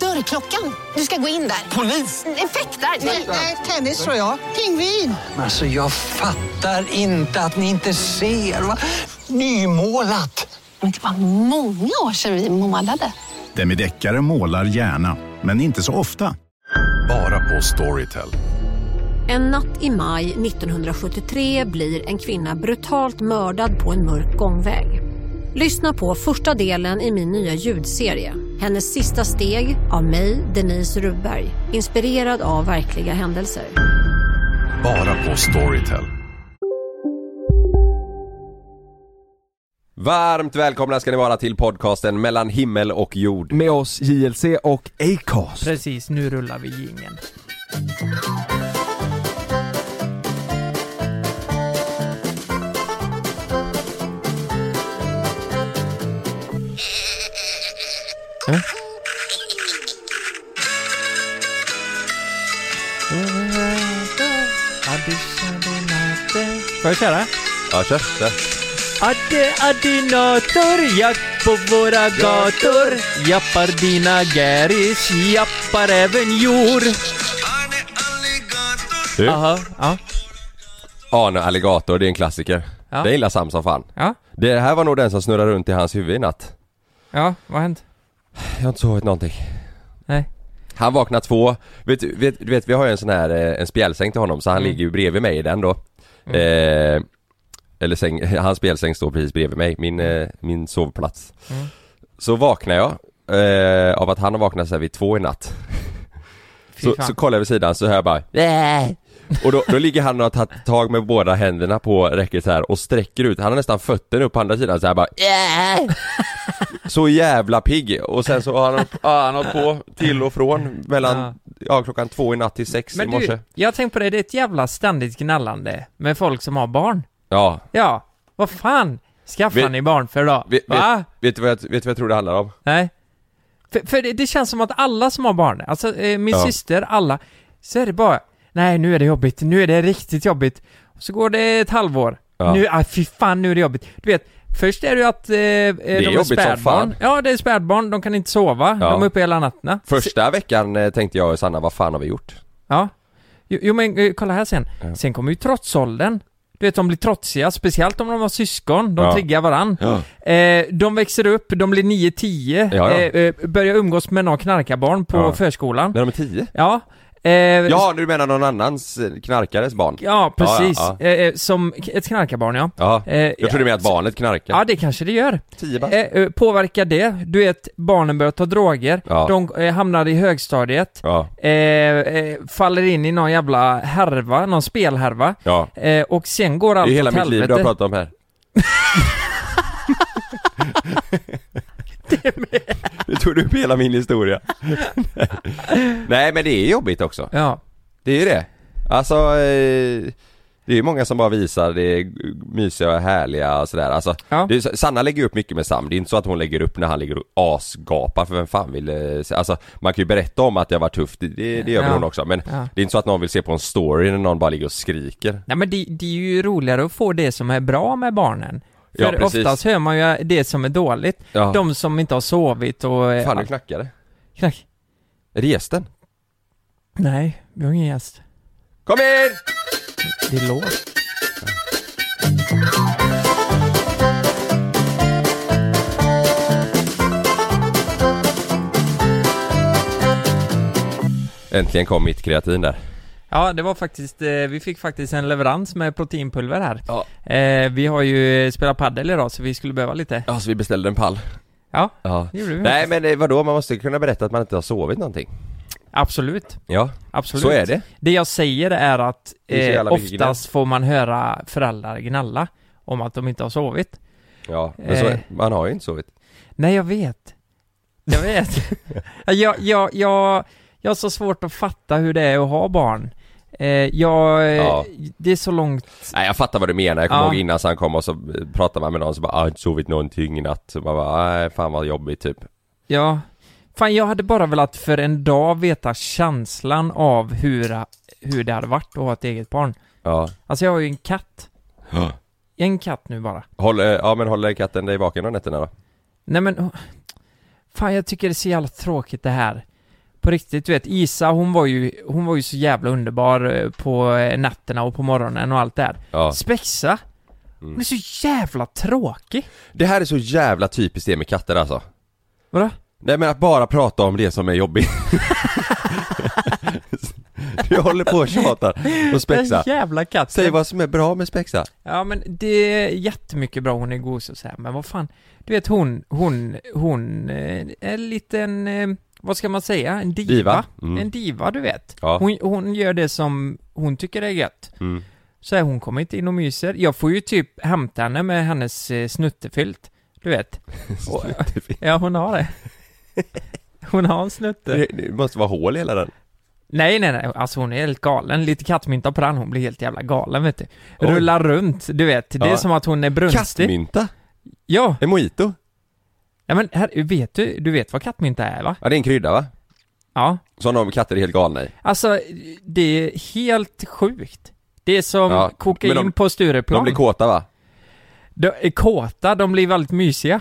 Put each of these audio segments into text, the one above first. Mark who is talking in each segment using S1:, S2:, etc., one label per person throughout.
S1: Dörrklockan. Du ska gå in där. Polis? Effektar? Nej, tennis tror jag. Pingvin.
S2: Alltså jag fattar inte att ni inte ser. Va? Nymålat!
S3: Men det var många år sedan vi målade.
S4: Demideckare målar gärna, men inte så ofta.
S5: Bara på Storytel.
S6: En natt i maj 1973 blir en kvinna brutalt mördad på en mörk gångväg. Lyssna på första delen i min nya ljudserie. Hennes sista steg av mig, Denise Rubberg. Inspirerad av verkliga händelser.
S5: Bara på Storytel.
S7: Varmt välkomna ska ni vara till podcasten mellan himmel och jord.
S8: med oss JLC och Acast.
S9: Precis, nu rullar vi jingeln. Får jag köra?
S7: Ja, kör. Där.
S9: Adde adinator, jakt på våra gator Jappar dina gäris, jappar även jord
S7: Du,
S9: Aha, ja,
S7: Arne Alligator, det är en klassiker.
S9: Ja.
S7: Det gillar Sam som fan.
S9: ja,
S7: Det här var nog den som snurrade runt i hans huvud i natt.
S9: ja, vad har hänt?
S7: Jag har inte sovit någonting.
S9: Nej.
S7: Han vaknar två, vet du, vet, du vet vi har ju en sån här, eh, en spjälsäng till honom så
S9: Mm.
S7: han ligger ju bredvid mig i den då. Eh, eller säng, hans spjälsäng står precis bredvid mig, min,
S9: Mm.
S7: eh, min sovplats. Så vaknar jag eh, av att han har vaknat så här vid två i natt.
S9: Fy
S7: Så,
S9: fan.
S7: så kollar jag vid sidan så hör jag bara "Äh." Och då, då ligger han och har tagit tag med båda händerna på räcket så här och sträcker ut, han har nästan fötterna upp på andra sidan så här bara "Äh." Så jävla pigg och sen så har han, ja, han har hållit på till och från mellan, ja.
S9: Ja.
S7: klockan två i natt till sex i
S9: Men
S7: morse
S9: du, jag har tänkt på det, det är ett jävla ständigt gnällande med folk som har barn.
S7: Ja,
S9: Ja, vad fan skaffar
S7: Vet-
S9: ni barn för då?
S7: vet,
S9: Va?
S7: vet, vet, du vad jag, vet du vad jag tror det handlar om?
S9: Nej. För, för det, det känns som att alla som har barn, alltså eh, min
S7: Ja.
S9: syster, alla, så är det bara Nej, nu är det jobbigt, nu är det riktigt jobbigt. Och så går det ett halvår.
S7: Ja.
S9: Nu, ah, fy fan nu är det jobbigt. Du vet, först är det ju att eh, eh, de är
S7: jobbigt som fan.
S9: spädbarn. Ja, det är spädbarn, de kan inte sova,
S7: Ja.
S9: de är uppe hela natten.
S7: Första veckan eh, tänkte jag och Sanna, vad fan har vi gjort?
S9: Ja. Jo, jo men eh, kolla här sen. Sen kommer ju trotsåldern. Du vet, de blir trotsiga, speciellt om de har syskon. De
S7: Ja.
S9: triggar varann. Eh, de växer upp, de blir 9-10,
S7: Ja, ja.
S9: eh, eh, börjar umgås med några knarkarbarn på
S7: Ja.
S9: förskolan.
S7: När de är tio?
S9: Ja. Eh,
S7: Ja, nu menar någon annans eh, knarkares barn?
S9: ja, precis.
S7: Ja,
S9: Eh, Eh, som k- ett knarkarbarn, ja.
S7: ja.
S9: Eh,
S7: jag trodde med att barnet
S9: Ja,
S7: knarkar.
S9: det kanske det gör.
S7: Tio bara.
S9: Eh, eh, påverkar det? Du vet, barnen börjar ta droger,
S7: Ja.
S9: de eh, hamnar i högstadiet,
S7: Ja,
S9: eh, eh, faller in i någon jävla härva, någon spelhärva.
S7: ja.
S9: Eh, och sen går allt
S7: Det är hela
S9: åt
S7: mitt liv du
S9: helvete.
S7: har pratat om här. Du tog upp hela min historia. Nej men det är jobbigt också.
S9: Ja.
S7: Det är ju det. Alltså, eh, det är ju många som bara visar det mysiga och härliga och sådär. Alltså,
S9: Ja.
S7: det är, Sanna lägger upp mycket med Sam. Det är inte så att hon lägger upp när han ligger och asgapar för vem fan vill eh, se- Alltså, man kan ju berätta om att det har varit tufft. Det, det, det gör väl
S9: Ja.
S7: hon också. Men
S9: Ja.
S7: det är inte så att någon vill se på en story när någon bara ligger och skriker.
S9: Nej men det, det är ju roligare att få det som är bra med barnen. För
S7: Ja, precis.
S9: oftast hör man ju det som är dåligt.
S7: Ja.
S9: De som inte har sovit och... eh,
S7: Fan, nu knackar det.
S9: knack.
S7: Är det gästen?
S9: Nej, vi har ingen gäst.
S7: Kom in!
S9: Det är låst.
S7: Äntligen kom mitt kreatin där.
S9: Ja, det var faktiskt, eh, vi fick faktiskt en leverans med proteinpulver här.
S7: Ja.
S9: Eh, vi har ju eh, spelat padel idag så vi skulle behöva lite.
S7: Ja, så vi beställde en pall.
S9: Ja,
S7: Ja.
S9: det gjorde vi.
S7: Nej men eh, vadå, man måste ju kunna berätta att man inte har sovit någonting.
S9: Absolut,
S7: Ja,
S9: absolut.
S7: så är det.
S9: Det jag säger är att
S7: Det är så
S9: eh,
S7: jävla mycket
S9: oftast får man höra föräldrar gnälla om att de inte har sovit.
S7: Ja, men så,
S9: Eh.
S7: man har ju inte sovit.
S9: Nej, jag vet. Jag vet. jag, jag, jag, jag har så svårt att fatta hur det är att ha barn. Eh, Eh, jag, eh,
S7: Ja.
S9: det är så långt...
S7: Nej jag fattar vad du menar, jag kommer
S9: Ja.
S7: ihåg innan så han kom och så pratade man med någon så bara ah, jag har inte sovit någonting i natt, så man bara nej fan vad jobbigt typ
S9: Ja. Fan, jag hade bara velat för en dag veta känslan av hur, hur det hade varit att ha ett eget barn.
S7: Ja,
S9: Alltså jag har ju en katt.
S7: Ja.
S9: En katt nu bara.
S7: håller, eh, ja men håller katten dig vaken om nätterna då?
S9: Nej men... åh. Fan, jag tycker det är så jävla tråkigt det här. På riktigt, du vet, Isa hon var ju, hon var ju så jävla underbar eh, på eh, nätterna och på morgonen och allt det där.
S7: Ja Mm.
S9: Spexa! Hon är så jävla tråkig!
S7: Det här är så jävla typiskt det med katter alltså
S9: Vadå?
S7: Nej men att bara prata om det som är jobbigt Du håller på och tjatar och spexa
S9: Den jävla katten!
S7: Säg vad som är bra med spexa
S9: Ja men det är jättemycket bra, hon är gosig och så här, men vad fan Du vet hon, hon, hon eh, en liten, eh, vad ska man säga, en diva?
S7: Diva, mm.
S9: En diva du vet
S7: Ja.
S9: hon, hon gör det som hon tycker är gött
S7: Mm.
S9: Så här, hon kommer inte in och myser, jag får ju typ hämta henne med hennes eh, snuttefilt Du vet, Och- ja hon har det Hon har en snutte
S7: det, det måste vara hål i hela den
S9: Nej nej nej, alltså hon är helt galen, lite kattmynta på den, hon blir helt jävla galen vet du
S7: Oj.
S9: Rullar runt, du vet, det är
S7: Ja.
S9: som att hon är brunstig
S7: Kattmynta?
S9: Ja!
S7: En mojito?
S9: Nej men här, vet du, du vet vad kattmynta är va?
S7: Ja det är en krydda va?
S9: Ja.
S7: Som de katter är helt galna i
S9: Alltså, det är helt sjukt. Det är som
S7: Ja,
S9: kokain
S7: men de-
S9: på
S7: De
S9: Stureplan.
S7: blir kåta va?
S9: De är kåta, de blir väldigt mysiga.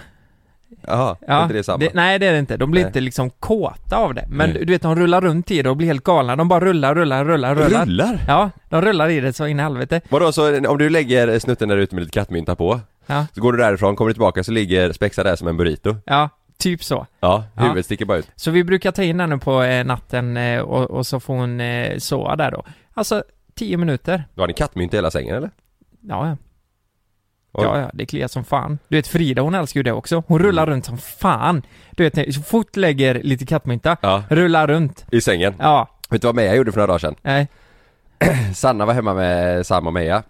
S7: Jaha, är inte det samma?
S9: nej det är det inte, de blir
S7: Nej.
S9: inte liksom kåta av det. Men
S7: Nej.
S9: du vet, de rullar runt i det och blir helt galna. De bara rullar, rullar, rullar, rullar.
S7: Rullar?
S9: Ja, de rullar i det så in i helvete.
S7: Vadå så om du lägger snutten där ute med lite kattmynta på
S9: Ja.
S7: Så går du därifrån, kommer du tillbaka så ligger spexa där som en burrito
S9: Ja, typ så.
S7: Ja, huvudet
S9: Ja.
S7: sticker bara ut
S9: Så vi brukar ta in henne på eh, natten eh, och, och så får hon eh, sova där då. Alltså, tio minuter.
S7: Du har ni kattmynta i hela sängen eller?
S9: Ja, ja.
S7: Oj.
S9: Ja, ja, det kliar som fan. Du vet Frida hon älskar ju det också. Hon rullar
S7: Mm.
S9: runt som fan. Du vet, när- så fort lägger lite kattmynta,
S7: Ja.
S9: rullar runt.
S7: I sängen?
S9: Ja,
S7: Vet du vad Meja gjorde för några dagar sedan?
S9: nej.
S7: Sanna var hemma med Sam och Meja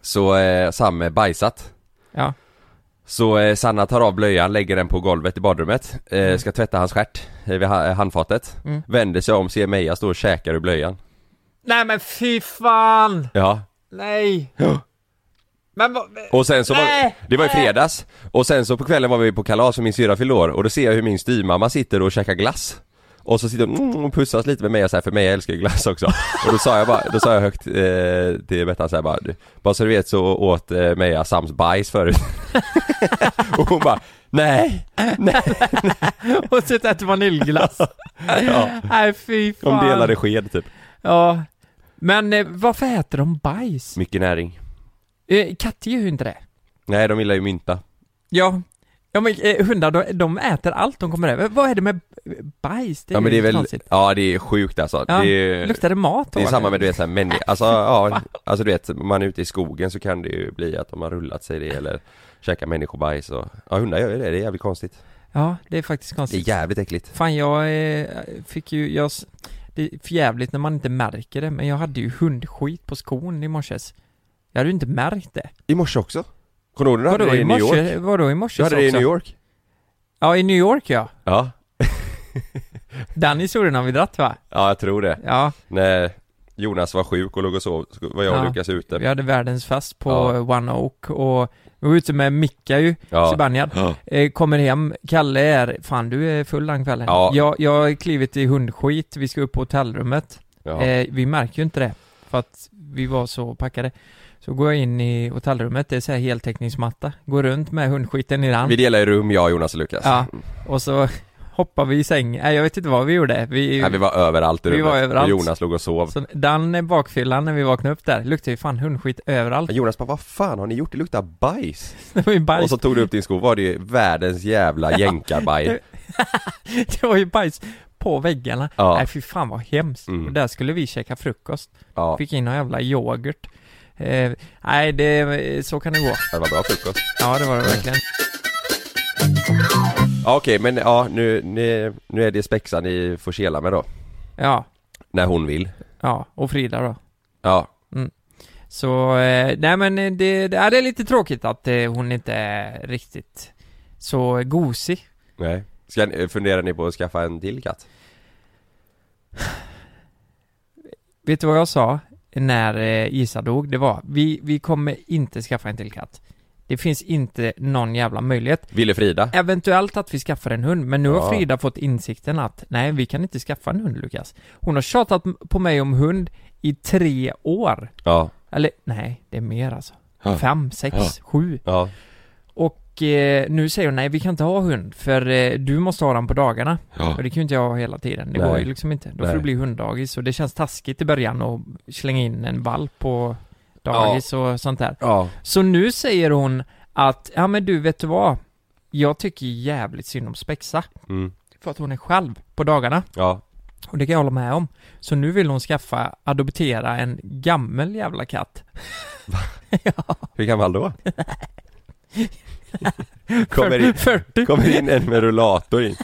S7: Så eh, Sam är bajsat
S9: Ja.
S7: Så eh, Sanna tar av blöjan, lägger den på golvet i badrummet eh, Ska tvätta hans stjärt eh, vid ha- handfatet
S9: Mm.
S7: Vänder sig om, ser Meja stå och käkar ur blöjan
S9: Nej men fy fan!
S7: Ja
S9: Nej! Men vad...
S7: Och sen så var,
S9: Nej!
S7: det var i fredags Och sen så på kvällen var vi på kalas för min syrra fyllde år och då ser jag hur min styvmamma sitter och käkar glass Och så sitter hon mm, och pussas lite med mig och så här, för mig jag älskar ju glass också Och då sa jag bara, då sa jag högt eh, till Bettan så här bara "Du, Bara så du vet så åt eh, Meja Sams bajs förut Och hon bara Nej, nej,
S9: Och så äter vaniljglass.
S7: Ja.
S9: Nej fy
S7: de
S9: fan.
S7: delade sked typ
S9: Ja. Men eh, varför äter de bajs?
S7: Mycket näring
S9: Eh, katter gör ju inte det.
S7: Nej de gillar ju mynta
S9: Ja. Ja men eh, hundar, de, de äter allt de kommer över. Vad är det med b- bajs? Det är
S7: Ja men det
S9: ju
S7: är väl,
S9: konstigt.
S7: ja det är sjukt alltså
S9: Ja,
S7: det är,
S9: Luktar det mat då,
S7: Det är
S9: eller?
S7: samma med du vet såhär människa, alltså ja, alltså du vet, man är ute i skogen så kan det ju bli att de har rullat sig det eller käkat människobajs och, ja hundar gör ju det, det är jävligt konstigt
S9: Ja, det är faktiskt
S7: Det
S9: konstigt.
S7: är jävligt äckligt
S9: Fan jag eh, fick ju, jag, s- det är för jävligt när man inte märker det, men jag hade ju hundskit på skon i morse. Jag hade ju inte märkt det.
S7: I morse också? Kommer du ihåg när du hade
S9: Vadå
S7: det
S9: i
S7: i New York?
S9: morse? Vadå i morse
S7: Du hade det i
S9: också?
S7: New York?
S9: Ja, i New York ja.
S7: Ja,
S9: Den historien har vi dratt va?
S7: ja jag tror det
S9: Ja,
S7: När Jonas var sjuk och låg och sov, så var jag och
S9: Ja.
S7: Lukas ute
S9: vi hade världens fest på
S7: Ja.
S9: eh, One Oak och vi var ute med Micka ju,
S7: Ja.
S9: Zibanejad.
S7: Ja.
S9: Eh, kommer hem, Kalle är, fan du är full den kvällen.
S7: Ja.
S9: Jag, jag har klivit i hundskit, vi ska upp på hotellrummet.
S7: Ja.
S9: Eh, vi märker ju inte det, för att vi var så packade. Så går jag in i hotellrummet, det är så här heltäckningsmatta. Går runt med hundskiten i den.
S7: Vi delar ju rum jag, Jonas och Lukas Mm.
S9: Ja, och så hoppar vi i sängen. Nej, jag vet inte vad vi gjorde. Vi,
S7: Nej, vi var överallt i
S9: Vi
S7: rummet,
S9: var överallt.
S7: Och Jonas låg och sov
S9: så den bakfyllan när vi vaknade upp där, luktade ju fan hundskit överallt.
S7: Men Jonas bara, vad fan har ni gjort? Det luktar bajs!
S9: Det var ju bajs.
S7: Och så tog du upp din sko, var det ju världens jävla jänkarbajs
S9: Det var ju bajs på väggarna.
S7: Ja.
S9: Nej, fy fan vad hemskt.
S7: Mm.
S9: Och där skulle vi käka frukost.
S7: Ja,
S9: Fick in någon jävla yoghurt. Eh, nej, det, så kan det gå.
S7: det var bra frukost
S9: Ja, det var det verkligen.
S7: Ja, Okej men ja nu, nu, nu är det Spexa ni får kela med då
S9: Ja,
S7: När hon vill
S9: ja, och Frida då.
S7: Ja
S9: Så, eh, nej men eh, det, det, ja, det är lite tråkigt att eh, hon inte är riktigt så gosig.
S7: Nej Ska, ni- funderar ni på att skaffa en till katt?
S9: Vet du vad jag sa när eh, Isa dog? Det var, vi, vi kommer inte skaffa en till katt. Det finns inte någon jävla möjlighet.
S7: Ville Frida?
S9: Eventuellt att vi skaffar en hund, men nu har
S7: Ja.
S9: Frida fått insikten att nej, vi kan inte skaffa en hund Lukas. Hon har tjatat m- på mig om hund i tre år.
S7: Ja,
S9: Eller nej, det är mer alltså.
S7: Ja.
S9: Fem, sex,
S7: Ja.
S9: sju.
S7: ja,
S9: Och eh, nu säger hon nej, vi kan inte ha hund för eh, du måste ha den på dagarna.
S7: ja.
S9: Och det kan ju inte jag ha hela tiden, det
S7: Nej.
S9: går ju liksom inte. Då får
S7: Nej.
S9: det bli hunddagis och det känns taskigt i början att slänga in en valp på dagis och sånt där.
S7: ja.
S9: Så nu säger hon att, ja men du vet du vad? Jag tycker jävligt synd om Spexa.
S7: Mm.
S9: För att hon är själv på dagarna.
S7: ja.
S9: Och det kan jag hålla med om. Så nu vill hon skaffa, adoptera en gammel jävla katt.
S7: Hur gammal då? kommer, in,
S9: 40!
S7: kommer in en med rullator in.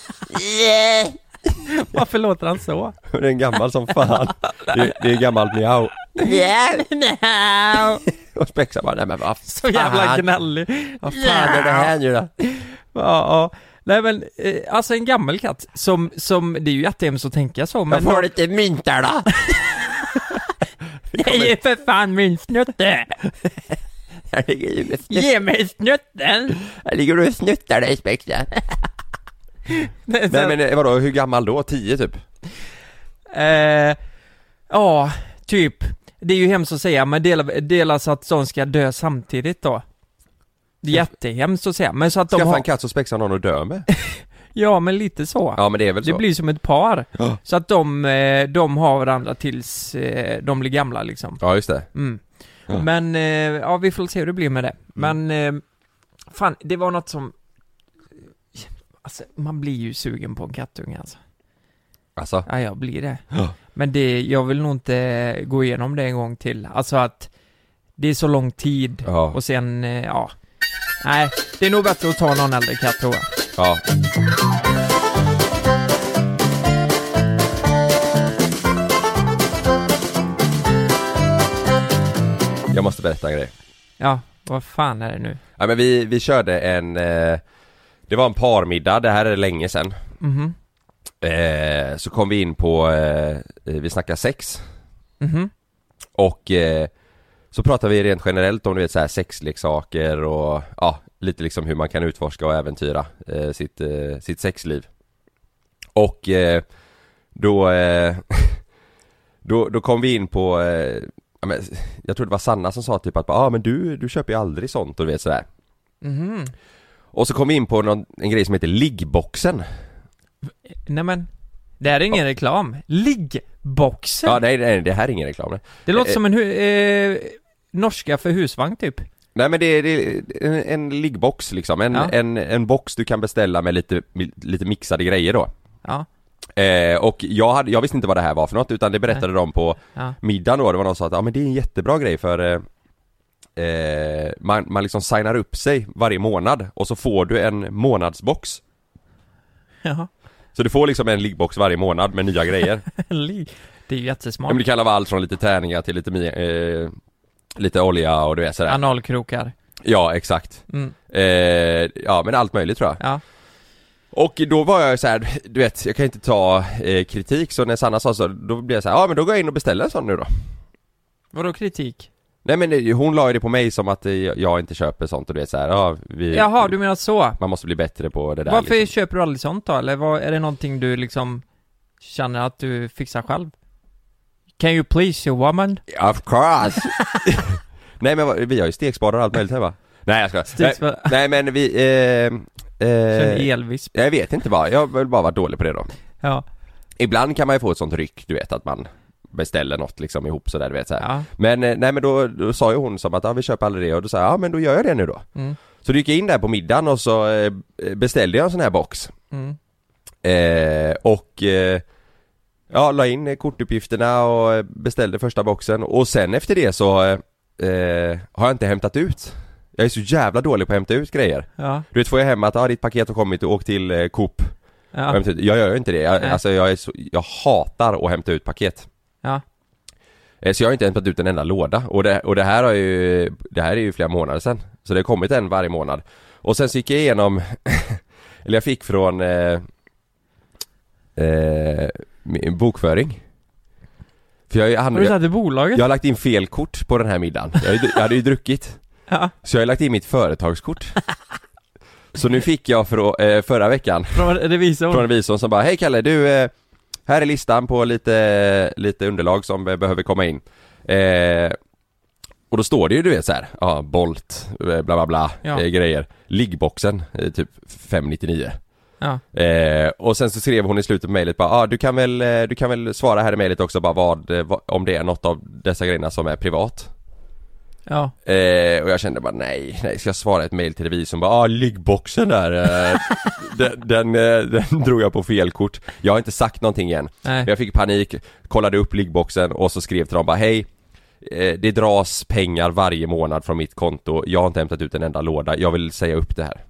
S9: Varför låter han så?
S7: Det är en gammal som fan. Det, det är gammalt miau. Och Spexa bara, nej men vad
S9: Så jävla
S7: fan,
S9: gnällig.
S7: vad fan är det här nu då?
S9: Ja, ja. Nej men, eh, alltså en gammal katt som, som, det är ju jättehemskt att tänka så men...
S7: Jag får lite myntar då.
S9: Nej för fan min snutte!
S7: Jag ligger ju med snutt-
S9: Ge mig snutten!
S7: jag ligger och snuttar dig Spexa. Nej men eh, vadå, hur gammal då? 10 typ?
S9: Eh, ja, typ. Det är ju hemskt att säga, men dela, dela så att de ska dö samtidigt då. Det är jättehemskt att säga, men så att de
S7: Skaffa
S9: har...
S7: en katt så Spexa har någon att dö med?
S9: Ja, men lite så.
S7: Ja men det är väl
S9: det
S7: så?
S9: blir som ett par.
S7: Ja.
S9: Så att de, eh, de har varandra tills eh, de blir gamla liksom.
S7: Ja just det.
S9: Mm.
S7: Ja. Mm.
S9: Men, eh, ja vi får se hur det blir med det. Men, eh, fan, det var något som... Alltså, man blir ju sugen på en kattunge alltså.
S7: Alltså,
S9: Ja, jag blir det.
S7: Ja.
S9: Men det, jag vill nog inte gå igenom det en gång till. Alltså att det är så lång tid
S7: Ja.
S9: och sen, eh, ja. Nej, det är nog bättre att ta någon äldre katt tror jag.
S7: ja. Jag måste berätta en grej.
S9: Ja, vad fan är det nu?
S7: Ja, men vi, vi körde en, eh, det var en parmiddag, det här är länge sedan.
S9: Mhm,
S7: Eh, så kom vi in på, eh, vi snackade sex
S9: mhm,
S7: och eh, så pratade vi rent generellt om du vet så här sexleksaker och ja, lite liksom hur man kan utforska och äventyra eh, sitt, eh, sitt sexliv. Och eh, då, eh, då, då kom vi in på, eh, ja, men, jag tror det var Sanna som sa typ att ah, men du, du köper ju aldrig sånt och du vet sådär.
S9: mhm.
S7: Och så kom vi in på någon, en grej som heter liggboxen.
S9: Nej men, det här är ingen reklam. Liggboxen!
S7: Ja nej, nej det här är ingen reklam. nej.
S9: det låter
S7: eh,
S9: som en hu- eh, norska för husvagn typ.
S7: Nej men det är, det är en, en liggbox liksom, en,
S9: Ja.
S7: en, en box du kan beställa med lite, lite mixade grejer då.
S9: Ja,
S7: Eh, och jag, hade, jag visste inte vad det här var för något utan det berättade de på
S9: ja.
S7: middagen då, det var någon som sa att ja men det är en jättebra grej för eh, eh, man, man liksom signar upp sig varje månad och så får du en månadsbox.
S9: Jaha.
S7: Så du får liksom en liggbox varje månad med nya grejer.
S9: Ligg. Det är ju
S7: Ja, men
S9: jättesmart.
S7: det kan vara allt från lite tärningar till lite, mi- eh, lite olja och du vet sådär.
S9: Analkrokar.
S7: Ja, exakt.
S9: Mm.
S7: Eh, ja, men allt möjligt tror jag.
S9: Ja.
S7: Och då var jag så här, du vet, jag kan inte ta eh, kritik, så när Sanna sa så, då blev jag så här, ja men då går jag in och beställer en sån nu då.
S9: Vadå kritik?
S7: Nej men eh, hon la ju det på mig som att eh, jag inte köper sånt och du vet så här, ja vi,
S9: Jaha, du menar så?
S7: man måste bli bättre på det där
S9: Varför
S7: liksom.
S9: köper du aldrig sånt då? Eller vad, är det någonting du liksom känner att du fixar själv? Can you please your woman?
S7: Of course! Nej men vad- vi har ju stekspadar och allt möjligt hemma. Nej jag skojar.
S9: Stekspadar.
S7: Nej, nej men vi, eh,
S9: Typ Känner
S7: eh,
S9: elvisp.
S7: jag vet inte vad, jag har väl bara varit dålig på det då.
S9: Ja.
S7: Ibland kan man ju få ett sånt ryck, du vet att man beställer något liksom ihop sådär du vet så här.
S9: ja.
S7: Men eh, nej men då, då sa ju hon som att ja, vi köper aldrig det och då sa jag ja men då gör jag det nu då.
S9: Mm.
S7: Så då gick jag in där på middagen och så eh, beställde jag en sån här box.
S9: Mm.
S7: Eh, och eh, ja, la in eh, kortuppgifterna och eh, beställde första boxen och sen efter det så eh, eh, har jag inte hämtat ut. Jag är så jävla dålig på att hämta ut grejer.
S9: Ja.
S7: Du vet får jag hem att ja, ditt paket har kommit och åk till eh, Coop. och
S9: Ja.
S7: hämta ut. Jag gör ju inte det. Jag,
S9: Nej.
S7: alltså jag, är så, jag hatar att hämta ut paket.
S9: Ja.
S7: Eh, Så jag har inte hämtat ut en enda låda och det, och det här har ju, det här är ju flera månader sedan. Så det har kommit en varje månad. Och sen så gick jag igenom, eller jag fick från eh, eh, min bokföring. För jag, jag,
S9: Har du
S7: handlade,
S9: satt i bolaget?
S7: jag har lagt in fel kort på den här middagen. Jag, hade- jag hade ju druckit.
S9: Ja.
S7: Så jag har lagt in mitt företagskort. Så nu fick jag frå, eh, förra veckan
S9: Från revisorn?
S7: från revisorn som bara Hej Kalle, du, eh, här är listan på lite, lite underlag som eh, behöver komma in. Eh, och då står det ju du vet så här, ja, Bolt, eh, bla bla bla,
S9: Ja.
S7: eh, grejer. Liggboxen, eh, typ 599.
S9: Ja.
S7: Eh, och sen så skrev hon i slutet på mejlet bara, ah, du, kan väl, eh, du kan väl svara här i mejlet också bara vad, eh, vad, om det är något av dessa grejerna som är privat.
S9: Ja.
S7: Eh, och jag kände bara nej, nej, ska jag svara ett mejl till revisorn bara, ah liggboxen där, eh, den, den, eh, den drog jag på fel kort. Jag har inte sagt någonting än.
S9: Nej.
S7: Jag fick panik, kollade upp liggboxen och så skrev till dem bara, hej, eh, det dras pengar varje månad från mitt konto, jag har inte hämtat ut en enda låda, jag vill säga upp det här.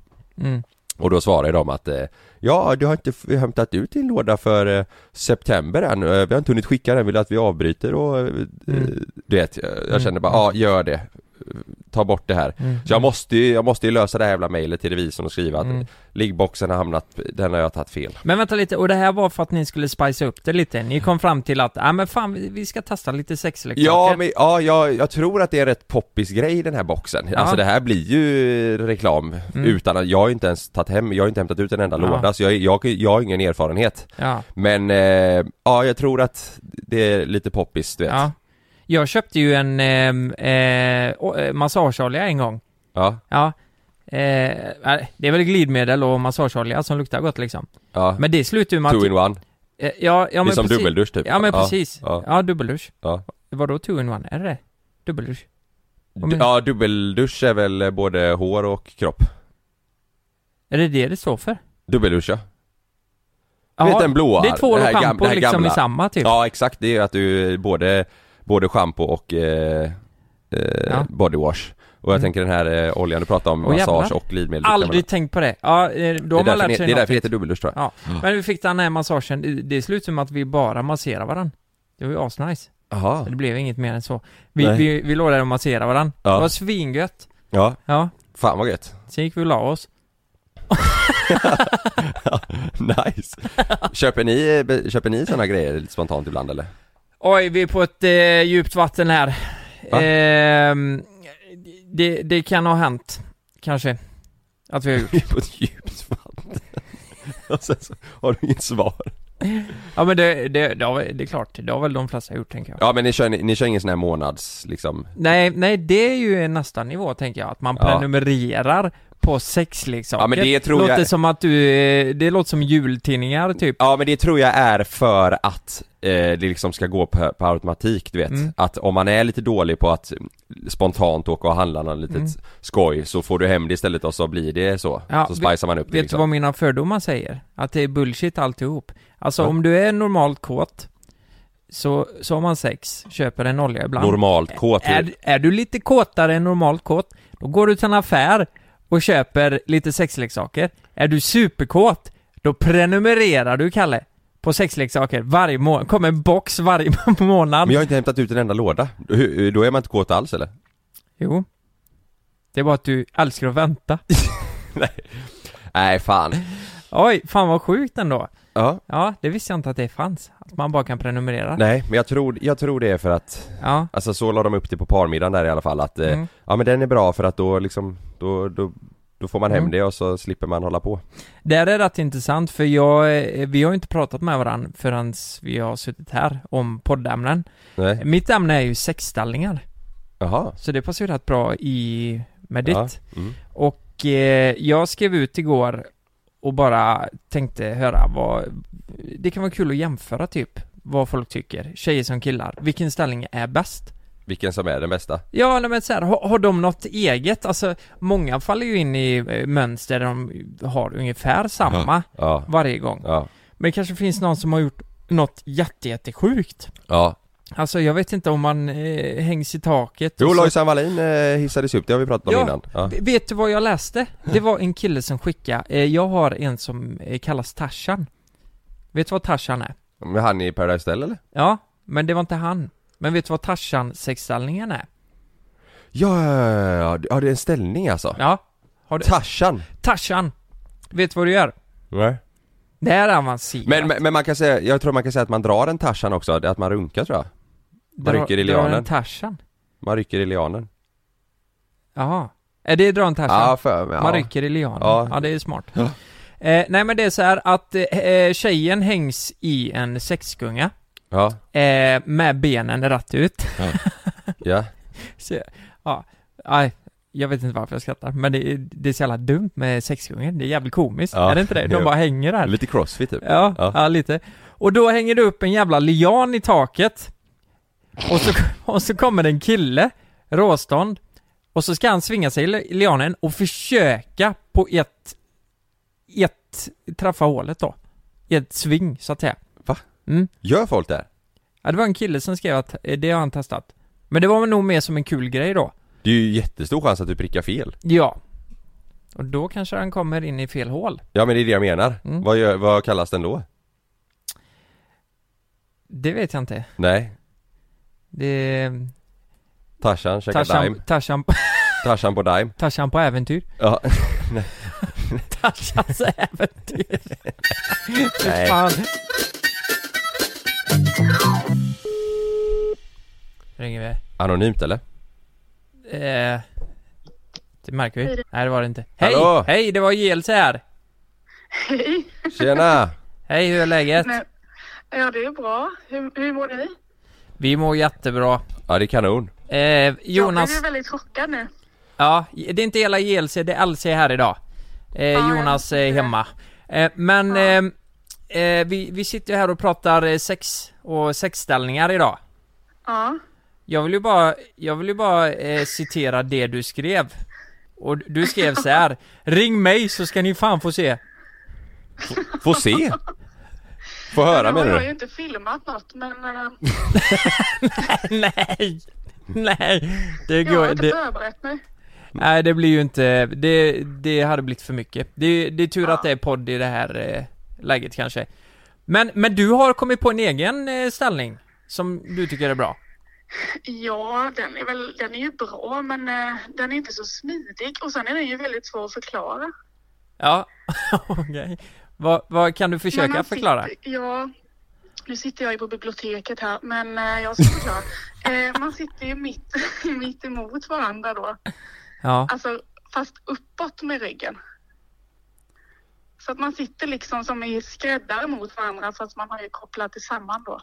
S9: Mm.
S7: Och då svarade de att eh, Ja, du har inte f- hämtat ut din låda för eh, September än, Eh, vi har inte hunnit skicka den, vill du att vi avbryter och eh,
S9: Mm.
S7: Du vet, jag, jag kände bara, ja gör det Ta bort det här
S9: Mm.
S7: Så jag måste ju, jag måste ju lösa det här jävla mejlet till revisorn och skriva att
S9: Mm.
S7: Liggboxen har hamnat, den har jag tagit fel
S9: Men vänta lite, och det här var för att ni skulle spicea upp det lite? Ni kom fram till att, ja men fan vi vi ska testa lite sexleksaker?
S7: Ja, men, ja jag, jag tror att det är en rätt poppis grej den här boxen
S9: Ja.
S7: Alltså det här blir ju reklam
S9: Mm.
S7: utan att, jag har ju inte ens tagit hem, jag har inte hämtat ut en enda
S9: Ja.
S7: låda så jag, jag, jag har ingen erfarenhet
S9: Ja.
S7: Men eh, ja, jag tror att det är lite poppis, du vet. Ja.
S9: ja. Jag köpte ju en ehm, eh, o- eh, massageolja en gång.
S7: Ja,
S9: Ja. Eh, nej, det är väl glidmedel och massageolja som luktar gott liksom. Men det slutar ju med att...
S7: two in one.
S9: Eh, ja, ja, men
S7: det är som
S9: precis.
S7: dubbeldusch typ.
S9: Ja men precis.
S7: ja.
S9: Ja, dubbeldusch.
S7: Ja.
S9: Vadå two in one? Är det det Dubbeldusch?
S7: Du, ja, dubbeldusch är väl eh, både hår och kropp.
S9: Är det det det står för?
S7: Dubbeldusch ja.
S9: Ja,
S7: vet den blåa,
S9: Det är tvål
S7: det
S9: och
S7: här gam-
S9: schampo
S7: det här
S9: liksom
S7: gamla.
S9: i samma typ.
S7: Ja exakt, det är ju att du eh, både, både schampo och eh, eh,
S9: Ja.
S7: bodywash. Och jag
S9: Mm.
S7: tänker den här eh, oljan du pratade om,
S9: Åh,
S7: massage
S9: jävlar.
S7: och glidmedel.
S9: Aldrig tänkt på det. Ja, eh,
S7: det
S9: då
S7: är
S9: har man
S7: därför,
S9: lärt
S7: ni-
S9: sig
S7: det är
S9: något.
S7: därför Mm. det heter dubbeldusch tror jag.
S9: Ja, men vi fick den här massagen, Det- det slutade med att vi bara masserade varandra. Det var ju asnice.
S7: Jaha.
S9: Det blev inget mer än så. Vi,
S7: Nej.
S9: vi, vi låg där och masserade varandra.
S7: Ja.
S9: Det var svingött.
S7: Ja,
S9: Ja,
S7: fan vad gött.
S9: sen gick vi och la oss.
S7: nice. köper ni, be- köper ni sådana grejer lite spontant ibland eller?
S9: Oj, vi är på ett eh, djupt vatten här.
S7: Va?
S9: Ehm, det, det kan ha hänt, kanske. Att vi har gjort.
S7: Det är på ett djupt vatten. Och sen så har du inget svar.
S9: Ja men det, det, det, har, det är klart, det har väl de flesta gjort tänker jag.
S7: Ja men ni kör, ni, ni kör ingen sån här månads liksom.
S9: Nej, nej det är ju nästa nivå tänker jag, att man
S7: Ja.
S9: prenumererar på sexleksaker.
S7: Ja, men det tror
S9: låter
S7: jag-
S9: som att du, eh, det låter som jultidningar typ.
S7: Ja men det tror jag är för att eh, det liksom ska gå på, på automatik du vet.
S9: Mm.
S7: Att om man är lite dålig på att mm, spontant åka och handla något litet
S9: Mm.
S7: skoj så får du hem det istället och så blir det så.
S9: Ja,
S7: så
S9: vet-
S7: spicar man upp det
S9: Vet
S7: liksom.
S9: du vad mina fördomar säger? Att det är bullshit alltihop. Alltså
S7: Ja.
S9: om du är normalt kåt, så, så har man sex, köper en olja ibland.
S7: Normalt kåt ju.
S9: Är, är du lite kåtare än normalt kåt, då går du till en affär och köper lite sexleksaker. Är du superkåt, då prenumererar du, Kalle, på sexleksaker varje månad. Kommer en box varje månad.
S7: Men jag har inte hämtat ut en enda låda. Hur- Då är man inte kåt alls eller?
S9: Jo. Det är bara att du älskar att vänta.
S7: Nej fan.
S9: Oj, fan vad sjukt ändå.
S7: Ja.
S9: Ja, det visste jag inte att det fanns. Att man bara kan prenumerera.
S7: Nej men jag tror, jag tror det är för att
S9: Ja.
S7: Alltså så la de upp det på parmiddagen där i alla fall att eh,
S9: Mm.
S7: Ja men den är bra för att då liksom Då, då, då får man hem
S9: Mm.
S7: det och så slipper man hålla på
S9: Där är det rätt intressant för jag, eh, vi har ju inte pratat med varandra förrän vi har suttit här om poddämnen.
S7: Nej,
S9: Mitt ämne är ju sexställningar,
S7: jaha
S9: så det passar ju rätt bra i med ditt.
S7: Ja, mm.
S9: Och eh, jag skrev ut igår och bara tänkte höra vad, det kan vara kul att jämföra typ vad folk tycker, tjejer som killar, vilken ställning är bäst?
S7: Vilken som är den bästa?
S9: Ja, nej, men så här, har, har de något eget? Alltså, många faller ju in i eh, mönster där de har ungefär samma
S7: Ja,
S9: varje gång.
S7: ja,
S9: Men det kanske finns någon som har gjort något jätte, jättesjukt.
S7: ja
S9: Alltså jag vet inte om man eh, hängs i taket och
S7: Jo
S9: så-
S7: Lojsan Wallin eh, hissades upp, det har vi pratat om
S9: Ja.
S7: innan ja.
S9: V- Vet du vad jag läste? Det var en kille som skickade, eh, jag har en som eh, kallas Tarzan. Vet du vad Tarzan är?
S7: Men han i Paradise Hotel eller?
S9: Ja, men det var inte han. Men vet du vad tarzan sexställningen är?
S7: Ja, ja, ja, ja, ja, det är en ställning alltså
S9: Ja. Har du...
S7: Tarzan!
S9: Tarzan! Vet du vad du gör?
S7: Nej.
S9: Det här är avancerat.
S7: Men, men, men man kan säga, jag tror man kan säga att man drar en Tarzan också, det är att man runkar tror jag Man rycker i
S9: Dra en
S7: lianen.
S9: Tarzan?
S7: Man rycker i lianen.
S9: Jaha. Är det dra en Tarzan?
S7: Ja, för mig.
S9: Man
S7: Ja.
S9: rycker i lianen. Ja.
S7: Ja.
S9: det är smart. Eh, nej men det är så här att eh, tjejen hängs i en sexgunga
S7: Ja,
S9: eh, med benen rätt ut.
S7: ja.
S9: Så, ja, nej, jag vet inte varför jag skrattar, men det är, det är så jävla dumt med sexgången, det är jävligt komiskt,
S7: Ja.
S9: är det inte det? De
S7: Jo.
S9: bara hänger där.
S7: Lite crossfit typ.
S9: Ja, ja.
S7: Ja.
S9: lite. Och då hänger det upp en jävla lian i taket, och så, och så kommer det en kille, råstånd, och så ska han svinga sig i li- lianen och försöka på ett, ett, träffa hålet då. I ett sving, så att säga.
S7: Gör folk det? här?
S9: Ja, det var en kille som skrev att eh, det har han testat. Men det var nog mer som en kul grej då.
S7: Det är ju jättestor chans att du prickar fel.
S9: Ja. Och då kanske han kommer in i fel hål.
S7: Ja men det är det jag menar.
S9: Mm.
S7: Vad, gör, vad kallas den då?
S9: Det vet jag inte.
S7: Nej.
S9: Det...
S7: Tarzan käkar
S9: Tarzan,
S7: dime.
S9: Tarzan,
S7: Tarzan på dime.
S9: Tarzan på äventyr.
S7: Ja.
S9: Tarzans äventyr.
S7: Nej.
S9: Fan. Ringer vi?
S7: Anonymt eller?
S9: Eh, det märker vi. Nej, det var det inte. Hej!
S7: Hallå?
S9: Hej, det var JLC här.
S7: Tjena!
S9: Hej, hur är läget?
S10: Ja, det är bra. Hur, hur mår ni?
S9: Vi mår jättebra.
S7: Ja det är kanon.
S9: Eh, Jonas...
S10: Jag är väldigt chockad nu.
S9: Ja, det är inte hela JLC, det är LC här idag. Eh,
S10: jag
S9: Jonas är hemma. Eh, men ehm, eh, vi, vi sitter ju här och pratar eh, sex och sexställningar idag.
S10: Ja.
S9: Jag vill ju bara, jag vill ju bara eh, citera det du skrev. Och du skrev så här. Ring mig så ska ni fan få se.
S7: Få se! Få höra
S10: nu har
S7: menar
S10: jag ju
S7: du?
S10: inte filmat något, men eh,
S9: Nej! Nej! Det
S10: jag har
S9: går
S10: inte
S9: det,
S10: förberett mig.
S9: Nej det blir ju inte, det, det hade blivit för mycket. Det, det är tur att det är podd i det här eh, läget kanske. Men, men du har kommit på en egen eh, ställning som du tycker är bra.
S10: Ja, den är, väl, den är ju bra, men eh, den är inte så smidig. Och sen är den ju väldigt svår att förklara.
S9: Ja, okej. Vad, vad kan du
S10: Men
S9: försöka
S10: man
S9: förklara?
S10: Sitter, ja, nu sitter jag ju på biblioteket här, men eh, jag ska förklara. eh, man sitter ju mitt, mitt emot varandra då.
S9: Ja,
S10: Alltså, fast uppåt med ryggen. Så att man sitter liksom som i skräddare mot varandra fast man har ju kopplat det samman då.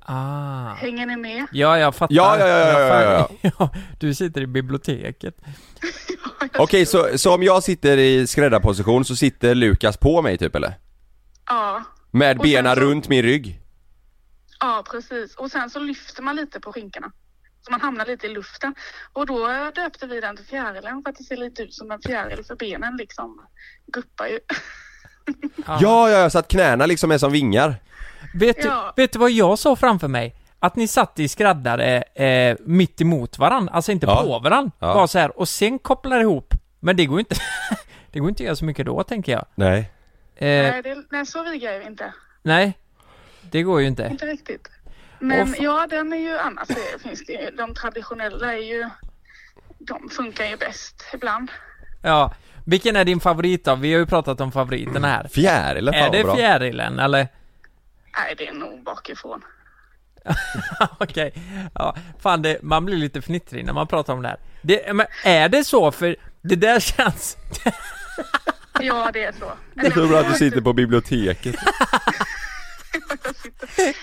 S9: ah.
S10: Hänger ni med?
S9: Ja, jag fattar.
S7: Ja, ja, ja, ja,
S9: Jag
S7: ja,
S9: fa- ja. Du sitter i biblioteket.
S7: Okej så, så om jag sitter i skräddarposition så sitter Lukas på mig typ eller?
S10: Ja,
S7: Med
S10: Och sen
S7: benen
S10: så-
S7: runt min rygg?
S10: ja precis. Och sen så lyfter man lite på skinkorna. Så man hamnar lite i luften. Och då eh, döpte vi den till fjärilen för att det ser lite ut som en fjäril för benen liksom guppar ju.
S9: Ja.
S7: Ja, ja, ja, så att knäna liksom är som vingar.
S9: Vet, du-
S10: Ja.
S9: vet du vad jag såg framför mig? Att ni satt i skräddare eh, mitt emot varandra, alltså inte
S7: Ja.
S9: på varandra,
S7: Ja.
S9: bara så här och sen kopplar ihop. Men det går ju inte, det går inte att göra så mycket då tänker jag.
S7: Nej.
S9: Eh,
S10: Nej, det, nej, så vigar jag ju inte.
S9: nej, det går ju inte.
S10: Inte riktigt.
S9: Åh,
S10: Men
S9: fan.
S10: ja, den är ju annars det finns det ju, de traditionella är ju, de funkar ju bäst ibland.
S9: Ja, vilken är din favorit då? Vi har ju pratat om favoriterna här.
S7: Fjärilen, fan
S9: Är
S7: vad
S9: det
S7: bra.
S9: fjärilen eller?
S10: Nej, det är nog bakifrån.
S9: Okej, ja, fan det, man blir lite fnittrig när man pratar om det här. Det, men är det så? För det där känns...
S10: Ja, det är så.
S7: Tur att du sitter på biblioteket.